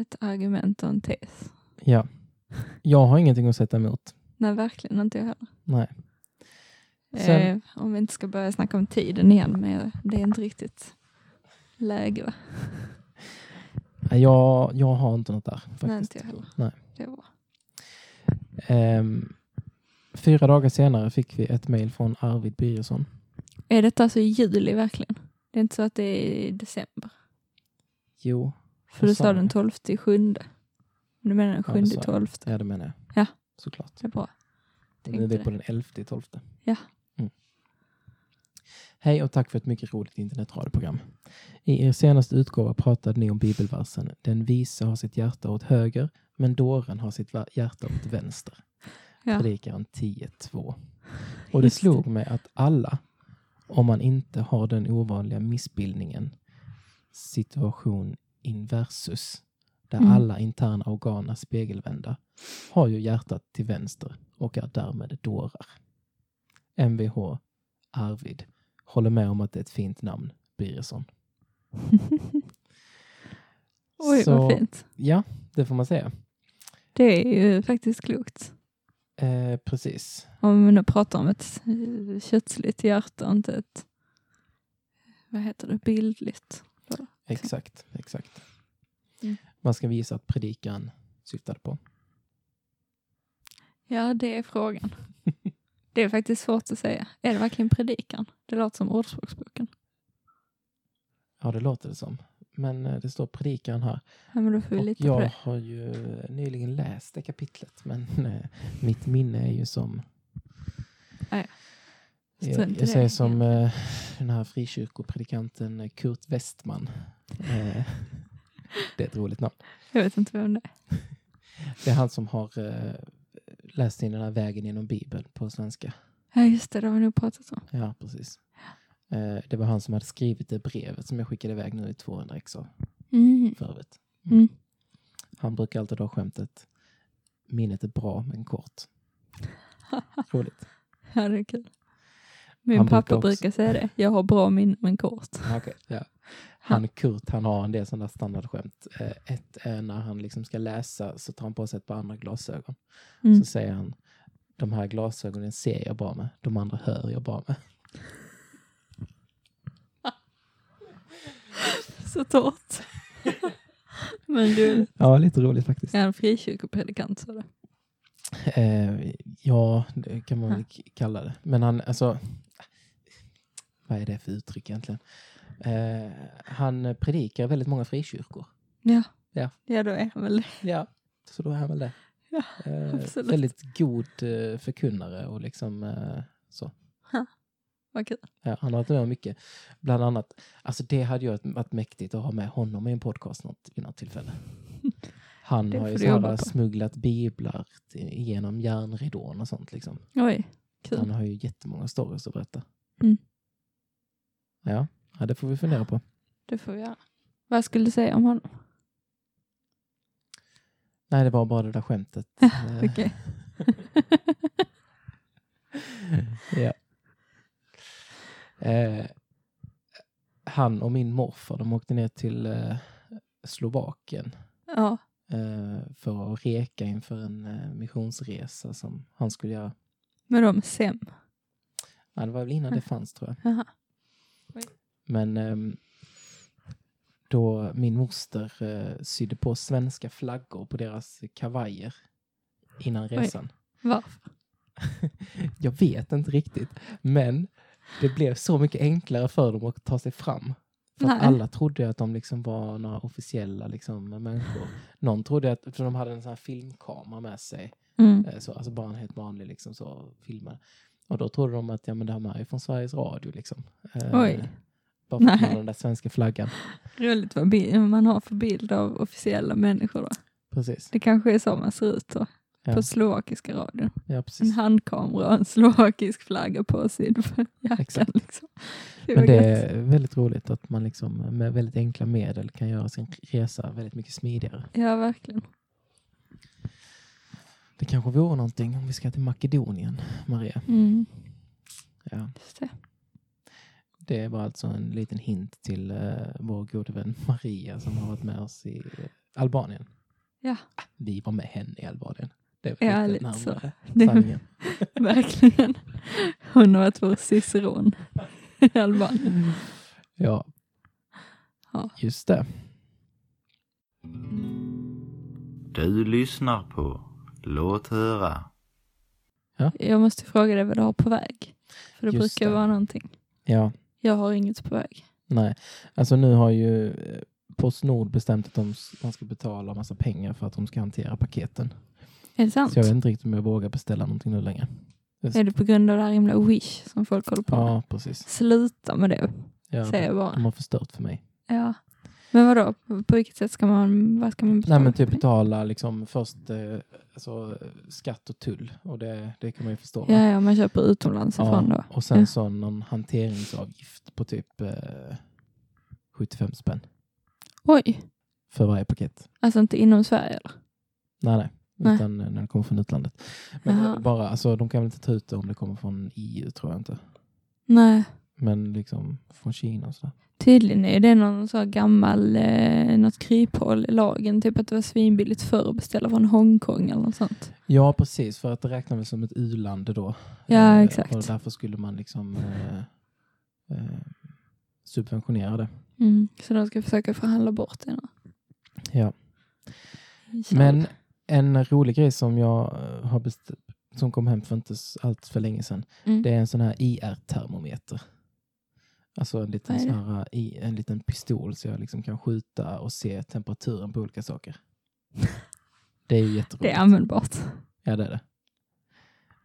Speaker 1: ett argument och en tes.
Speaker 2: Ja. Jag har ingenting att sätta emot.
Speaker 1: Nej, verkligen inte jag heller.
Speaker 2: Nej. Sen-
Speaker 1: Eh, om vi inte ska börja snacka om tiden igen, men det är inte riktigt läge va?
Speaker 2: Nej, Jag, jag har inte något där faktiskt.
Speaker 1: Nej, inte jag heller.
Speaker 2: Nej.
Speaker 1: Det var.
Speaker 2: Ehm, fyra dagar senare fick vi ett mejl från Arvid Birgersson.
Speaker 1: Är detta alltså i juli verkligen? Det är inte så att det är i december?
Speaker 2: Jo,
Speaker 1: För du
Speaker 2: Jag sa
Speaker 1: sa
Speaker 2: det.
Speaker 1: den 12 till 7. Du menar den
Speaker 2: Ja,
Speaker 1: 7
Speaker 2: det sa
Speaker 1: till
Speaker 2: jag.
Speaker 1: 12?
Speaker 2: ja, det menar jag.
Speaker 1: Ja.
Speaker 2: Såklart.
Speaker 1: Det är bra.
Speaker 2: Nu är vi
Speaker 1: Tänkte
Speaker 2: på den elfte i tolfte.
Speaker 1: Ja.
Speaker 2: Mm. Hej och tack för ett mycket roligt internetradioprogram. I er senaste utgåva pratade ni om bibelversen Den vise har sitt hjärta åt höger, men dåren har sitt va- hjärta åt vänster.
Speaker 1: Ja.
Speaker 2: Predikaren 10.2. Och det
Speaker 1: Just det.
Speaker 2: slog mig att alla, om man inte har den ovanliga missbildningen, situation inversus, där
Speaker 1: Mm.
Speaker 2: alla interna organ är spegelvända, har ju hjärtat till vänster och är därmed dårar. Mvh Arvid håller med om att det är ett fint namn, Birgersson.
Speaker 1: Oj,
Speaker 2: Så-
Speaker 1: vad fint.
Speaker 2: Ja, det får man säga.
Speaker 1: Det är ju faktiskt klokt.
Speaker 2: Eh, precis.
Speaker 1: Om vi nu pratar om ett eh, kötsligt hjärta och inte ett, vad heter det, bildligt.
Speaker 2: Exakt, exakt.
Speaker 1: Mm.
Speaker 2: Man ska visa att predikan syftade på.
Speaker 1: Ja, det är frågan. Det är faktiskt svårt att säga. Är det verkligen predikan? Det låter som ordspråksboken.
Speaker 2: Ja, det låter det som. Men eh, det står predikan här.
Speaker 1: Ja, men då får vi
Speaker 2: Och
Speaker 1: lita på
Speaker 2: jag
Speaker 1: det.
Speaker 2: har ju nyligen läst det kapitlet, men eh, mitt minne är ju som...
Speaker 1: Ah, ja. Strunt
Speaker 2: Jag,
Speaker 1: i
Speaker 2: jag
Speaker 1: det.
Speaker 2: säger som eh, den här frikyrkopredikanten eh, Kurt Westman. Eh, det är ett roligt namn.
Speaker 1: Jag vet inte vem det är.
Speaker 2: Det är han som har eh, läst in den här vägen genom Bibeln på svenska.
Speaker 1: Ja, just det, det har vi nog pratat om.
Speaker 2: Ja, precis. Eh, Det var han som hade skrivit det brevet som jag skickade iväg nu i 200 ex av
Speaker 1: Mm.
Speaker 2: för övrigt.
Speaker 1: Mm.
Speaker 2: Han brukar alltid ha skämtet minnet är bra men kort. Roligt.
Speaker 1: Ja, det är kul. Min
Speaker 2: Han brukar
Speaker 1: pappa
Speaker 2: också-
Speaker 1: brukar säga det. Jag har bra minne men kort.
Speaker 2: Ja, okej. Ja. Han Kurt, han har en del sådana standardskämt. Eh, Ett är när han liksom ska läsa så tar han på sig ett par andra glasögon.
Speaker 1: Mm.
Speaker 2: Så säger han, de här glasögonen ser jag bra med, de andra hör jag bra med.
Speaker 1: Så torrt. men du
Speaker 2: Ja, lite roligt faktiskt.
Speaker 1: är en frikyrkopredikant sa du.
Speaker 2: Eh, ja, det kan man väl k- kalla det. Men han, alltså, vad är det för uttryck egentligen? Eh, han predikar i väldigt många frikyrkor.
Speaker 1: Ja.
Speaker 2: Ja.
Speaker 1: ja, då är han väl det.
Speaker 2: Ja, så då är han väl det.
Speaker 1: Ja,
Speaker 2: Eh,
Speaker 1: absolut.
Speaker 2: väldigt god eh, förkunnare och liksom eh, så.
Speaker 1: Vad kul.
Speaker 2: Ja, han har varit med om mycket. Bland annat, alltså det hade ju varit mäktigt att ha med honom i en podcast något, vid något tillfälle. Han
Speaker 1: Det
Speaker 2: har ju
Speaker 1: får du jobba
Speaker 2: sådär
Speaker 1: på.
Speaker 2: smugglat biblar t- genom järnridån och sånt liksom.
Speaker 1: Oj, kul.
Speaker 2: Han har ju jättemånga stories att berätta.
Speaker 1: Typ. Mm.
Speaker 2: Ja, ja, det får vi fundera på.
Speaker 1: Det får vi göra. Vad skulle du säga om honom?
Speaker 2: Nej, det var bara det där skämtet. Eh,
Speaker 1: Okej.
Speaker 2: ja. eh, han och min morfar, de åkte ner till eh, Slovakien
Speaker 1: Ja.
Speaker 2: eh, för att reka inför en eh, missionsresa som han skulle göra.
Speaker 1: Men de är sem.
Speaker 2: Ja, det var väl innan det fanns tror jag.
Speaker 1: Jaha. Oj.
Speaker 2: Men ehm, då min moster eh, sydde på svenska flaggor på deras kavajer innan resan.
Speaker 1: Varför?
Speaker 2: Jag vet inte riktigt, men det blev så mycket enklare för dem att ta sig fram. För att
Speaker 1: Nej.
Speaker 2: alla trodde ju att de liksom var några officiella liksom, människor. Någon trodde att, för de hade en sån här filmkamera med sig,
Speaker 1: Mm.
Speaker 2: eh, så, alltså bara en helt vanlig liksom, så, filmare. Och då trodde de att ja, men det här med är från Sveriges Radio. Liksom. Eh,
Speaker 1: Oj.
Speaker 2: Bara för
Speaker 1: Nej.
Speaker 2: att man har den där svenska flaggan.
Speaker 1: Roligt vad bi- man har för bild av officiella människor då.
Speaker 2: Precis.
Speaker 1: Det kanske är så man ser ut då.
Speaker 2: Ja.
Speaker 1: På slovakiska radion.
Speaker 2: Ja,
Speaker 1: En
Speaker 2: precis.
Speaker 1: handkamera och en slovakisk flagga på sin jacka.
Speaker 2: Exakt.
Speaker 1: Liksom. Gud,
Speaker 2: Men
Speaker 1: vad
Speaker 2: det
Speaker 1: gött.
Speaker 2: är väldigt roligt att man liksom, med väldigt enkla medel kan göra sin resa väldigt mycket smidigare.
Speaker 1: Ja, verkligen.
Speaker 2: Det kanske vore någonting om vi ska till Makedonien, Maria.
Speaker 1: Mm.
Speaker 2: Ja.
Speaker 1: Just det.
Speaker 2: Det var alltså en liten hint till eh, vår gode vän Maria som har varit med oss i eh, Albanien.
Speaker 1: Ja.
Speaker 2: Ah, Vi var med henne i Albanien. Det var
Speaker 1: Ja,
Speaker 2: lite
Speaker 1: lite så.
Speaker 2: närmare
Speaker 1: Det-
Speaker 2: sanningen.
Speaker 1: Verkligen. Hon har varit vår ciceron i Albanien.
Speaker 2: Ja.
Speaker 1: Ja.
Speaker 2: just det.
Speaker 3: Du lyssnar på Låt höra.
Speaker 1: Jag måste fråga dig vad du har på väg. För det
Speaker 2: Just
Speaker 1: brukar
Speaker 2: det.
Speaker 1: vara någonting.
Speaker 2: Ja,
Speaker 1: Jag har inget på väg.
Speaker 2: nej. Alltså nu har ju eh, Postnord bestämt att de s- man ska betala massa pengar för att de ska hantera paketen.
Speaker 1: Är det sant?
Speaker 2: Så jag vet inte riktigt om jag vågar beställa någonting nu längre.
Speaker 1: Är det på grund av det här himla Wish som folk håller på med?
Speaker 2: Ja, precis.
Speaker 1: Sluta med det,
Speaker 2: Ja, Mm.
Speaker 1: säger jag
Speaker 2: de
Speaker 1: bara.
Speaker 2: har förstört för mig.
Speaker 1: Ja. Men vadå, på vilket sätt ska man, vad ska man betala?
Speaker 2: Nej men typ
Speaker 1: för det?
Speaker 2: betala liksom först eh, alltså, eh, skatt och tull och det, det kan man ju förstå. va?
Speaker 1: Ja, ja, man köper utomlands
Speaker 2: Ja,
Speaker 1: ifrån då.
Speaker 2: och sen
Speaker 1: Ja.
Speaker 2: så någon hanteringsavgift på typ eh, 75 spänn
Speaker 1: Oj,
Speaker 2: för varje paket.
Speaker 1: alltså inte inom Sverige eller?
Speaker 2: Nej nej,
Speaker 1: Nej.
Speaker 2: utan eh, när det kommer från utlandet. Men
Speaker 1: Jaha.
Speaker 2: bara, alltså, de kan väl inte ta ut det om det kommer från EU tror jag inte.
Speaker 1: Nej,
Speaker 2: Men liksom från Kina och sådär.
Speaker 1: tydligen är det någon så här gammal, eh, något kryphål i lagen, typ att det var svinbilligt förr att beställa från Hongkong eller något sånt.
Speaker 2: Ja precis, för att det räknas väl som ett u-land då.
Speaker 1: Ja,
Speaker 2: Eh,
Speaker 1: exakt.
Speaker 2: Och därför skulle man liksom eh, eh, subventionera det.
Speaker 1: Mm. Så de ska försöka förhandla bort det nu.
Speaker 2: Ja.
Speaker 1: Tjall.
Speaker 2: Men en rolig grej som jag eh, har best- som kom hem för inte s- allt för länge sedan.
Speaker 1: Mm.
Speaker 2: Det är en sån här IR-termometer. Alltså en liten,
Speaker 1: Vad är
Speaker 2: sån
Speaker 1: det?
Speaker 2: här, eh, i, en liten pistol så jag liksom kan skjuta och se temperaturen på olika saker. Det är ju jätteroligt.
Speaker 1: det är användbart.
Speaker 2: Ja, det är det.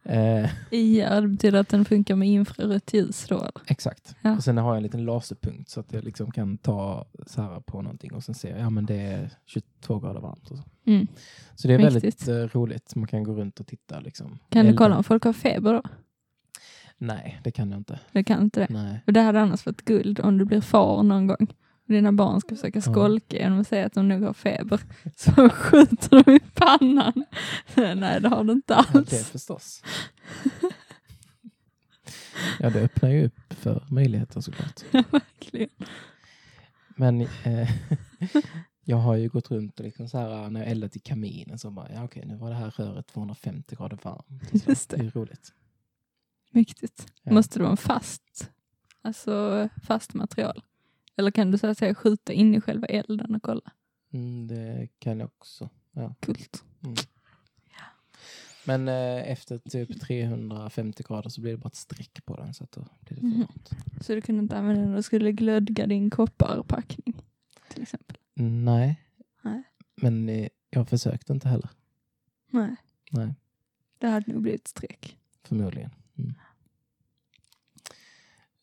Speaker 2: Eh,
Speaker 1: IR betyder att den funkar med infrarött ljus då. eller?
Speaker 2: exakt.
Speaker 1: Ja.
Speaker 2: Och sen har jag en liten laserpunkt så att jag liksom kan ta så här på någonting och sen ser jag, ja men det är 22 grader varmt. Och så.
Speaker 1: Mm.
Speaker 2: så det är
Speaker 1: Mäktigt.
Speaker 2: väldigt eh, roligt. Man kan gå runt och titta liksom.
Speaker 1: Kan du
Speaker 2: Elda-
Speaker 1: kolla om folk har feber då?
Speaker 2: Nej, det kan jag inte.
Speaker 1: Jag kan inte det.
Speaker 2: Nej.
Speaker 1: Och det hade annars varit guld om du blir far någon gång. Och dina barn ska försöka
Speaker 2: Ja.
Speaker 1: skolka genom att säga att de nog har feber. Så skjuter de i pannan. Nej, det har du inte
Speaker 2: Ja, det
Speaker 1: alls.
Speaker 2: förstås. Ja, det öppnar ju upp för möjligheter såklart.
Speaker 1: Verkligen.
Speaker 2: Men eh, jag har ju gått runt och liksom så här när jag eldat i kaminen så bara, ja okej, nu var det här röret 250 grader varmt. och så.
Speaker 1: Just det.
Speaker 2: Det är roligt.
Speaker 1: Mäktigt.
Speaker 2: Ja.
Speaker 1: Måste det vara en fast, alltså fast material? Eller kan du så att säga skjuta in i själva elden och kolla?
Speaker 2: Mm, det kan jag också.
Speaker 1: Kult.
Speaker 2: Men eh, efter typ 350 grader så blir det bara ett streck på den så att då blir det för
Speaker 1: Mhm.
Speaker 2: varmt.
Speaker 1: Så du kunde inte använda den och skulle glödga din kopparpackning till exempel?
Speaker 2: Nej.
Speaker 1: Nej.
Speaker 2: Men eh, jag försökte inte heller.
Speaker 1: Nej,
Speaker 2: Nej,
Speaker 1: det hade nog blivit streck.
Speaker 2: förmodligen. Mm.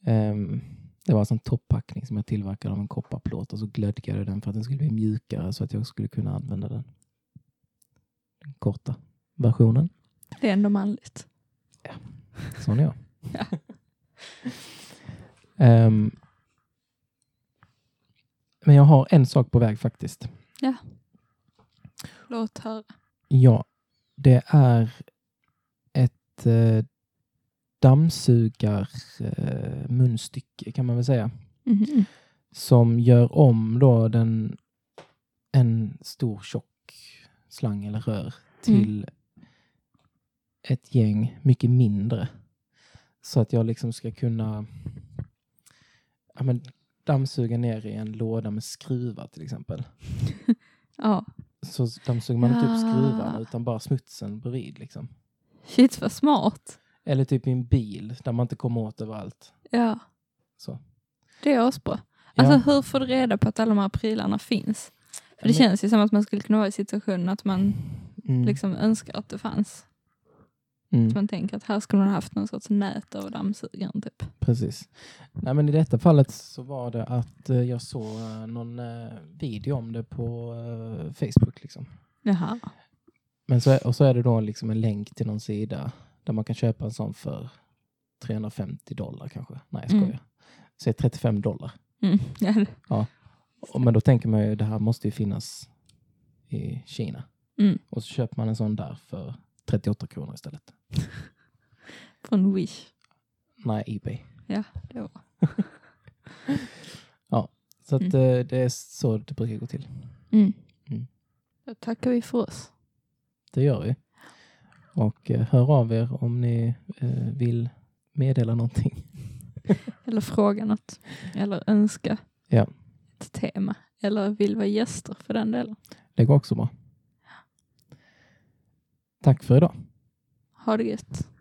Speaker 2: Ehm, det var alltså en toppackning som jag tillverkade av en kopparplåt och så glödgade jag den för att den skulle bli mjukare så att jag skulle kunna använda den. Den korta versionen.
Speaker 1: Det är ändå manligt.
Speaker 2: Sån är jag.
Speaker 1: Ja.
Speaker 2: Ehm, men jag har en sak på väg faktiskt.
Speaker 1: Låt höra.
Speaker 2: Ja, det är ett eh, dammsugarmunstycke eh, munstycke kan man väl säga.
Speaker 1: Mhm.
Speaker 2: Som gör om då den, en stor tjock slang eller rör
Speaker 1: Mm.
Speaker 2: till ett gäng mycket mindre. Så att jag liksom ska kunna ja, men, dammsuga ner i en låda med skruvar till exempel.
Speaker 1: Ja,
Speaker 2: Så dammsuger man inte upp
Speaker 1: Ja.
Speaker 2: skruvarna utan bara smutsen bredvid liksom.
Speaker 1: shit vad smart.
Speaker 2: Eller typ i en bil där man inte kommer åt överallt.
Speaker 1: Ja,
Speaker 2: Så.
Speaker 1: det är asbra.
Speaker 2: Ja.
Speaker 1: Alltså hur får du reda på att alla de här prylarna finns? För det
Speaker 2: Men-
Speaker 1: känns ju som att man skulle kunna vara i situationen att man
Speaker 2: Mm.
Speaker 1: liksom önskar att det fanns.
Speaker 2: Mm.
Speaker 1: Att man tänker att här skulle man ha haft någon sorts nät över dammsugaren typ.
Speaker 2: Precis. Nej, men I detta fallet så var det att eh, jag såg eh, någon eh, video om det på eh, Facebook. Liksom.
Speaker 1: Jaha.
Speaker 2: Men så, och så är det då liksom en länk till någon sida där man kan köpa en sån för 350 dollar kanske. Nej, jag skojar.
Speaker 1: Mm.
Speaker 2: Säg 35 dollar.
Speaker 1: Mm. Ja, det-
Speaker 2: Och, men då tänker man ju det här måste ju finnas i Kina.
Speaker 1: Mm.
Speaker 2: Och så köper man en sån där för 38 kronor istället.
Speaker 1: från Wish.
Speaker 2: Nej, Ebay.
Speaker 1: Det var.
Speaker 2: Så att, eh, det är så det brukar gå till.
Speaker 1: Mm.
Speaker 2: Mm.
Speaker 1: Då tackar vi för oss.
Speaker 2: Det gör vi. Och eh, hör av er om ni eh, vill meddela någonting.
Speaker 1: Eller fråga något. Eller önska
Speaker 2: Ja.
Speaker 1: ett tema. Eller vill vara gäster för den delen.
Speaker 2: Det går också bra. Tack för idag.
Speaker 1: Ha det gött.